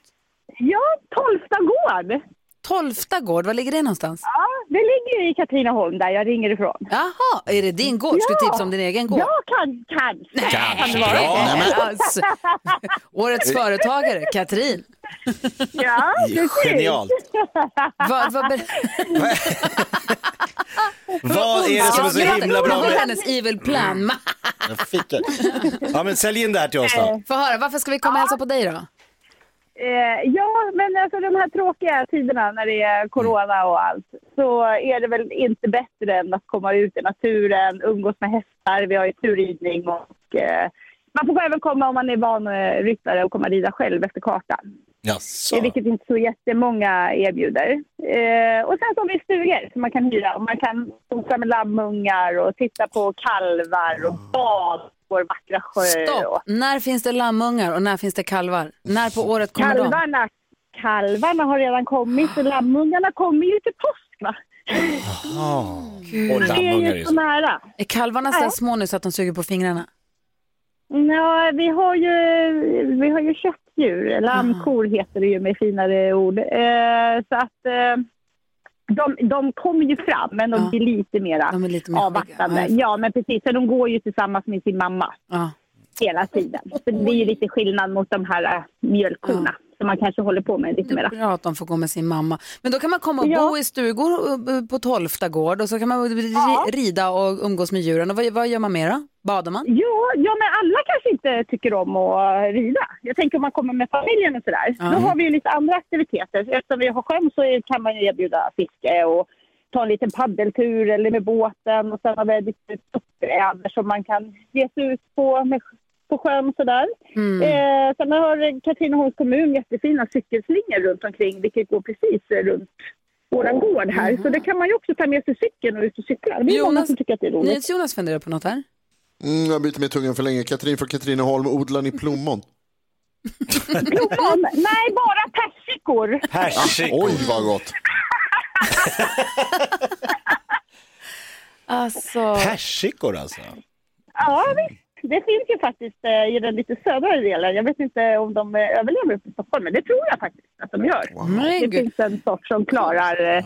Ja, Tolfta gård.
Tolfta gård, var ligger det någonstans?
Ja, det ligger ju i Katrineholm där jag ringer ifrån.
Jaha, är det din gård? Ska du tipsa om din egen gård?
Ja, kan, kanske.
[LAUGHS]
Kanske.
Kan det vara?
Bra. Nej, men- Alltså. Årets företagare, Katrin.
Ja, precis.
Genialt.
Vad, vad, ber-
[LAUGHS] Vad är det som är så
Jag
himla bra
Det var
med...
hennes evil plan. Ma-
Jag fick det. Ja, men sälj in det här till oss då.
Få höra, varför ska vi komma och hälsa på dig då?
[LAUGHS] Eh, ja, men alltså de här tråkiga tiderna när det är corona och allt så är det väl inte bättre än att komma ut i naturen, umgås med hästar. Vi har ju turridning och eh, man får även komma om man är vanryttare och komma och rida själv efter kartan.
Jaså?
Eh, Vilket inte så jättemånga erbjuder. Eh, och sen så har vi stugor som man kan hyra. Och man kan sosa med lammungar och titta på kalvar och bad på vår vackra sjö. Och...
Stopp! När finns det lammungar och när finns det kalvar? När på året kommer de?
Kalvarna, kalvarna har redan kommit och lammungarna kommer ju till påsk. Va?
Ah.
Gud.
Det är ju så nära.
Är kalvarna så små nu så att de suger på fingrarna?
Ja, vi har ju, vi har ju köttdjur. Lammkor heter det ju med finare ord. Eh, så att eh, de, de kommer ju fram, men Ah. de Ah, blir lite mera avvaktande. Ja, men precis. Så de går ju tillsammans med sin mamma hela tiden. Så det är ju lite skillnad mot de här eh, mjölkkorna som man kanske håller på med lite mera.
Bra att de får gå med sin mamma. Men då kan man komma och
Ja.
bo i stugor och- och på Tolfta gård och så kan man ri- rida och umgås med djuren. Och vad, vad gör man mer då? Badar man?
Ja, ja, men alla kanske inte tycker om att rida. Jag tänker om man kommer med familjen och sådär.
Ja.
Då har vi ju lite andra aktiviteter. Eftersom vi har sjön så är- kan man ju erbjuda fiske och ta en liten paddeltur eller med båten. Och sen har vi lite uppgräver som man kan ge sig ut på, med, på sjön och sådär.
Mm.
Eh, sen har Katrineholms kommun jättefina cykelslingor runt omkring vilket går precis eh, runt våran gård här. Så det kan man ju också ta med sig cykeln och ut och cykla. Det är ju många som tycker att det är roligt.
Jonas funderar på något här.
Mm, jag byter med tungan för länge. Katrin från Katrineholm, odlar ni plommon?
Plommon? Nej, bara persikor.
Ja, oj, vad gott.
Alltså.
Persikor alltså.
Ja, visst. Det finns ju faktiskt eh, i den lite södra delen. Jag vet inte om de eh, överlever uppe i Stockholm, men det tror jag faktiskt att de gör.
Men
Det
gud.
finns en sort som klarar eh,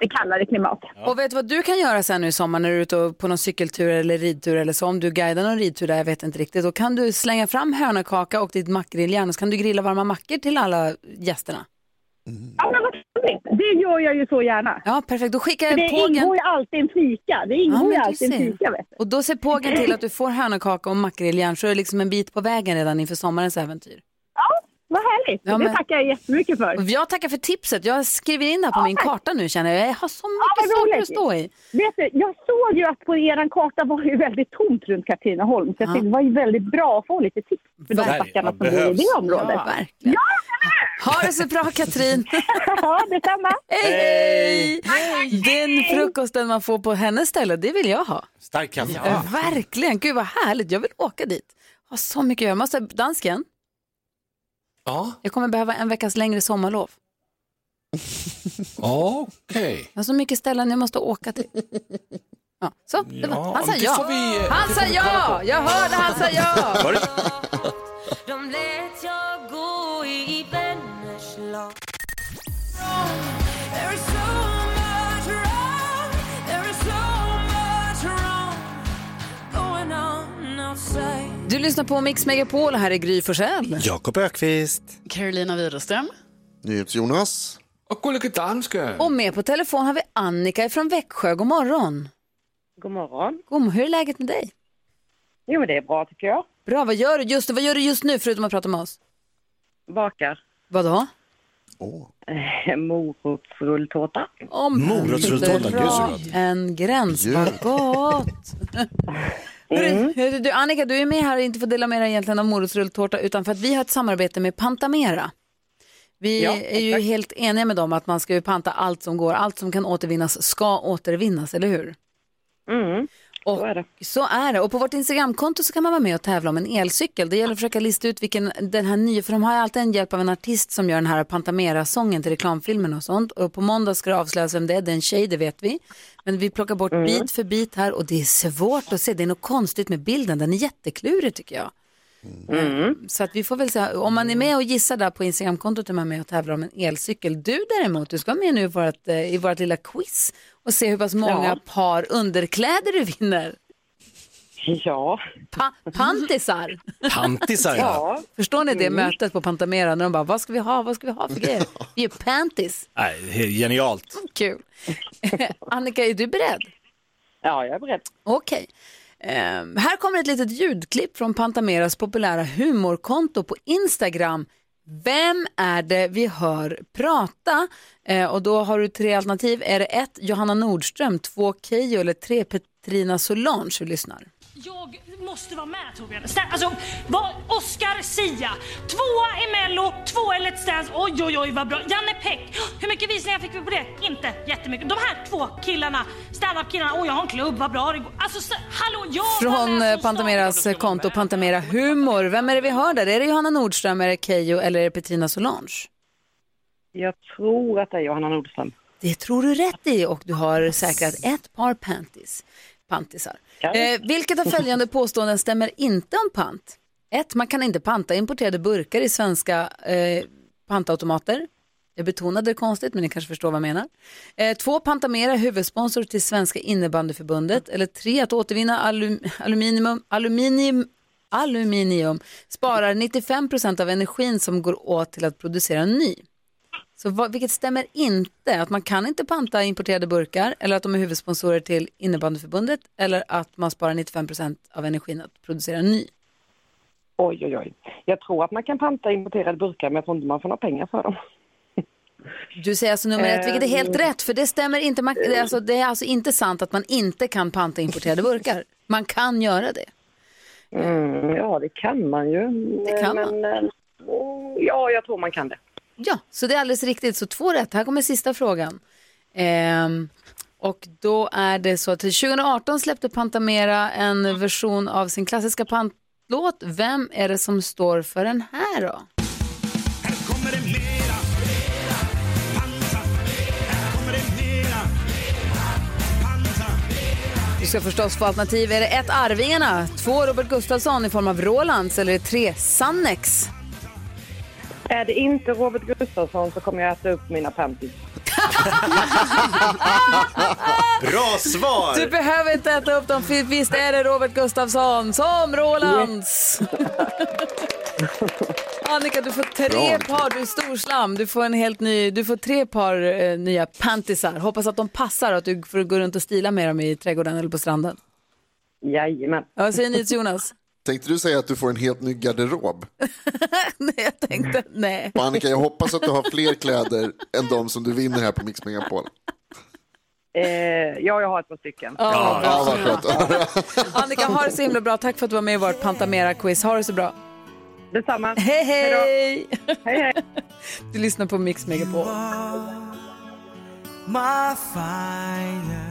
lite kallare klimat.
Och vet du vad du kan göra sen nu i sommar när du är ute och- på någon cykeltur eller ridtur eller så, om du guidar någon ridtur där, jag vet inte riktigt, då kan du slänga fram hönökaka och ditt mackgrilljärn och så kan du grilla varma mackor till alla gästerna.
Ja, men vad roligt. Det gör jag ju så gärna.
Ja, perfekt. Då skickar
För
jag
det
pågen.
ingår ju alltid en fika. Det
Ja,
ingår
men
ju
du
alltid en
ser.
fika, vet du.
Och då ser pågen till att du får hönökaka och mackgrilljärn så är det liksom en bit på vägen redan inför sommarens äventyr.
Vad härligt.
Ja, men-
Det tackar jag jättemycket för.
Och Jag tackar för tipset. Jag skriver in det här på min karta nu känner jag. Jag har så
vad
mycket saker
roligt.
att stå i.
Vet du, jag såg ju att på er karta var det ju väldigt tomt runt Katrineholm. Så jag
Ja.
tänkte det var ju väldigt bra att få lite tips för de
Verkligen.
stackarna som bor i
Behövs.
det området.
Ja, verkligen. Ha det så bra Katrin!
[LAUGHS] ja, detsamma!
Hej, hej! Den frukosten man får på hennes ställe, det vill jag ha.
Stark kaffe.
Ja. Verkligen, gud vad härligt. Jag vill åka dit. Har så mycket att göra. Måste, dansken,
Ja,
jag kommer behöva en veckas längre sommarlov.
okej.
Jag har så mycket ställen jag måste åka till. Ja, så, det var.
Ja,
Han sa
men det
ja.
får vi, eh,
Han
det
sa
får vi kolla
ja!
på.
Jag hörde han sa ja!
Var
De lät jag gå i vänners lag There is so much
Du lyssnar på Mix Megapol, här är Gry Forssell.
Jakob Ökvist.
Carolina Widerström.
NyhetsJonas.
Och Gullige Danske.
Och med på telefon har vi Annika från Växjö. God morgon.
God morgon.
God, hur är läget med dig?
Jo, men det är bra tycker jag.
Bra, vad gör du just, vad gör du just nu förutom att prata med oss?
Bakar. [LAUGHS]
Vadå?
Eh, Morotsrulltårta.
Om
Morotsrulltårta, gud, så
Dra en gräns, vad
[LAUGHS]
gott.
Mm.
Hörru, hörru, Du, Annika, du är med här och inte får dela med dig egentligen av morotsrulltårta utan för att vi har ett samarbete med Pantamera. Vi
Ja,
är ju helt eniga med dem att man ska ju panta allt som går, allt som kan återvinnas ska återvinnas, eller hur?
Mm.
Och så är, det. Och på vårt Instagramkonto så kan man vara med och tävla om en elcykel. Det gäller att försöka lista ut vilken den här nya, för de har ju alltid en hjälp av en artist som gör den här Pantamera-sången till reklamfilmen och sånt. Och på måndag ska det avslöjas vem det är, det är en tjej, det vet vi. Men vi plockar bort bit för bit här och det är svårt att se, det är något konstigt med bilden, den är jätteklurig tycker jag. Mm. Så att vi får väl säga, om man är med och gissar där på Instagramkontot är man med och tävlar om en elcykel. Du däremot, du ska vara med nu i vårt, eh, i vårt lilla quiz och se hur pass många
Ja.
par underkläder du vinner.
Ja.
Pa- pantisar.
Pantisar, ja. Ja.
Förstår ni det
Mm.
mötet på Pantamera när de bara, vad ska vi ha, vad ska vi ha för grejer? Vi är pantis.
Nej, det är genialt.
Kul. [LAUGHS] Annika, är du beredd?
Ja, jag är beredd.
Okej. Ehm, här kommer ett litet ljudklipp från Pantameras populära humorkonto på Instagram. Vem är det vi hör prata? Eh, och då har du tre alternativ. Är det ett Johanna Nordström, två Keyyo eller tre Petrina Solange? Vi lyssnar.
Jag måste vara med Torbjörn. Snälla, Alltså, vad, Oscar Sia. Tvåa i Mello, tvåa i Let's Dance. Oj, oj, oj vad bra. Janne Peck. Hur mycket visningar fick vi på det? Inte jättemycket. De här två killarna, standup killarna. Oj, jag har en klubb, vad bra det går. Alltså, så, hallå, jag var
Från
med
eh, Pantameras konto Pantamera Humor. Vem är det vi hör där? Är det Johanna Nordström, är det Keyyo eller är det Petrina Solange?
Jag tror att det är Johanna Nordström.
Det tror du rätt i och du har säkrat ett par panties. pantisar. Eh, vilket av följande påståenden stämmer inte om pant? 1. Man kan inte panta importerade burkar i svenska eh, pantautomater. Jag betonade det konstigt, men ni kanske förstår vad jag menar. Eh, två, Pantamera är huvudsponsor till Svenska innebandyförbundet. Eller tre, att återvinna alum, aluminium, aluminium, aluminium sparar 95 procent av energin som går åt till att producera en ny. Så vad, vilket stämmer inte? Att man kan inte panta importerade burkar eller att de är huvudsponsorer till innebandyförbundet eller att man sparar 95 procent av energin att producera en ny.
Oj, oj, oj. Jag tror att man kan panta importerade burkar, men jag tror inte man får några pengar för dem.
Du säger alltså nummer ett, vilket är helt
Eh,
rätt, för det stämmer inte. Man, det, är alltså, det är alltså inte sant att man inte kan panta importerade burkar. Man kan göra det.
Mm, ja, det kan man ju.
Det kan man.
eh, oh, ja, jag tror man kan det.
Ja, så det är alldeles riktigt. Så två rätt. Här kommer sista frågan. Ehm, och då är det så att 2018 släppte Pantamera en version av sin klassiska pantlåt. Vem är det som står för den här då? Du ska förstås få alternativ. Är det ett Arvingarna, två Robert Gustafsson i form av Rolands eller tre Sannex?
Är det inte Robert Gustafsson så kommer jag äta upp mina panties.
Bra svar!
Du behöver inte äta upp dem, för visst är det Robert Gustafsson
[LAUGHS]
som Rolands. Annika, du får tre
Bra.
par, du är storslam. Du får, en helt ny, du får tre par eh, nya pantisar. Hoppas att de passar och att du får gå runt och stila med dem i trädgården eller på stranden.
Jajamän.
Ja, vad säger ni
[LAUGHS]
till Jonas?
Tänkte du säga att du får en helt ny garderob?
Nej.
Och Annika, jag hoppas att du har fler kläder än de som du vinner här på Mix Megapol.
Eh, ja, jag har ett par stycken.
Ja,
ja, vad skönt.
Annika, ha det så himla bra. Tack för att du var med i vårt Pantamera-quiz. Ha det så bra.
Detsamma.
Hej, hej! [LAUGHS]
hej, hej.
Du lyssnar på Mix Megapol.
My finest.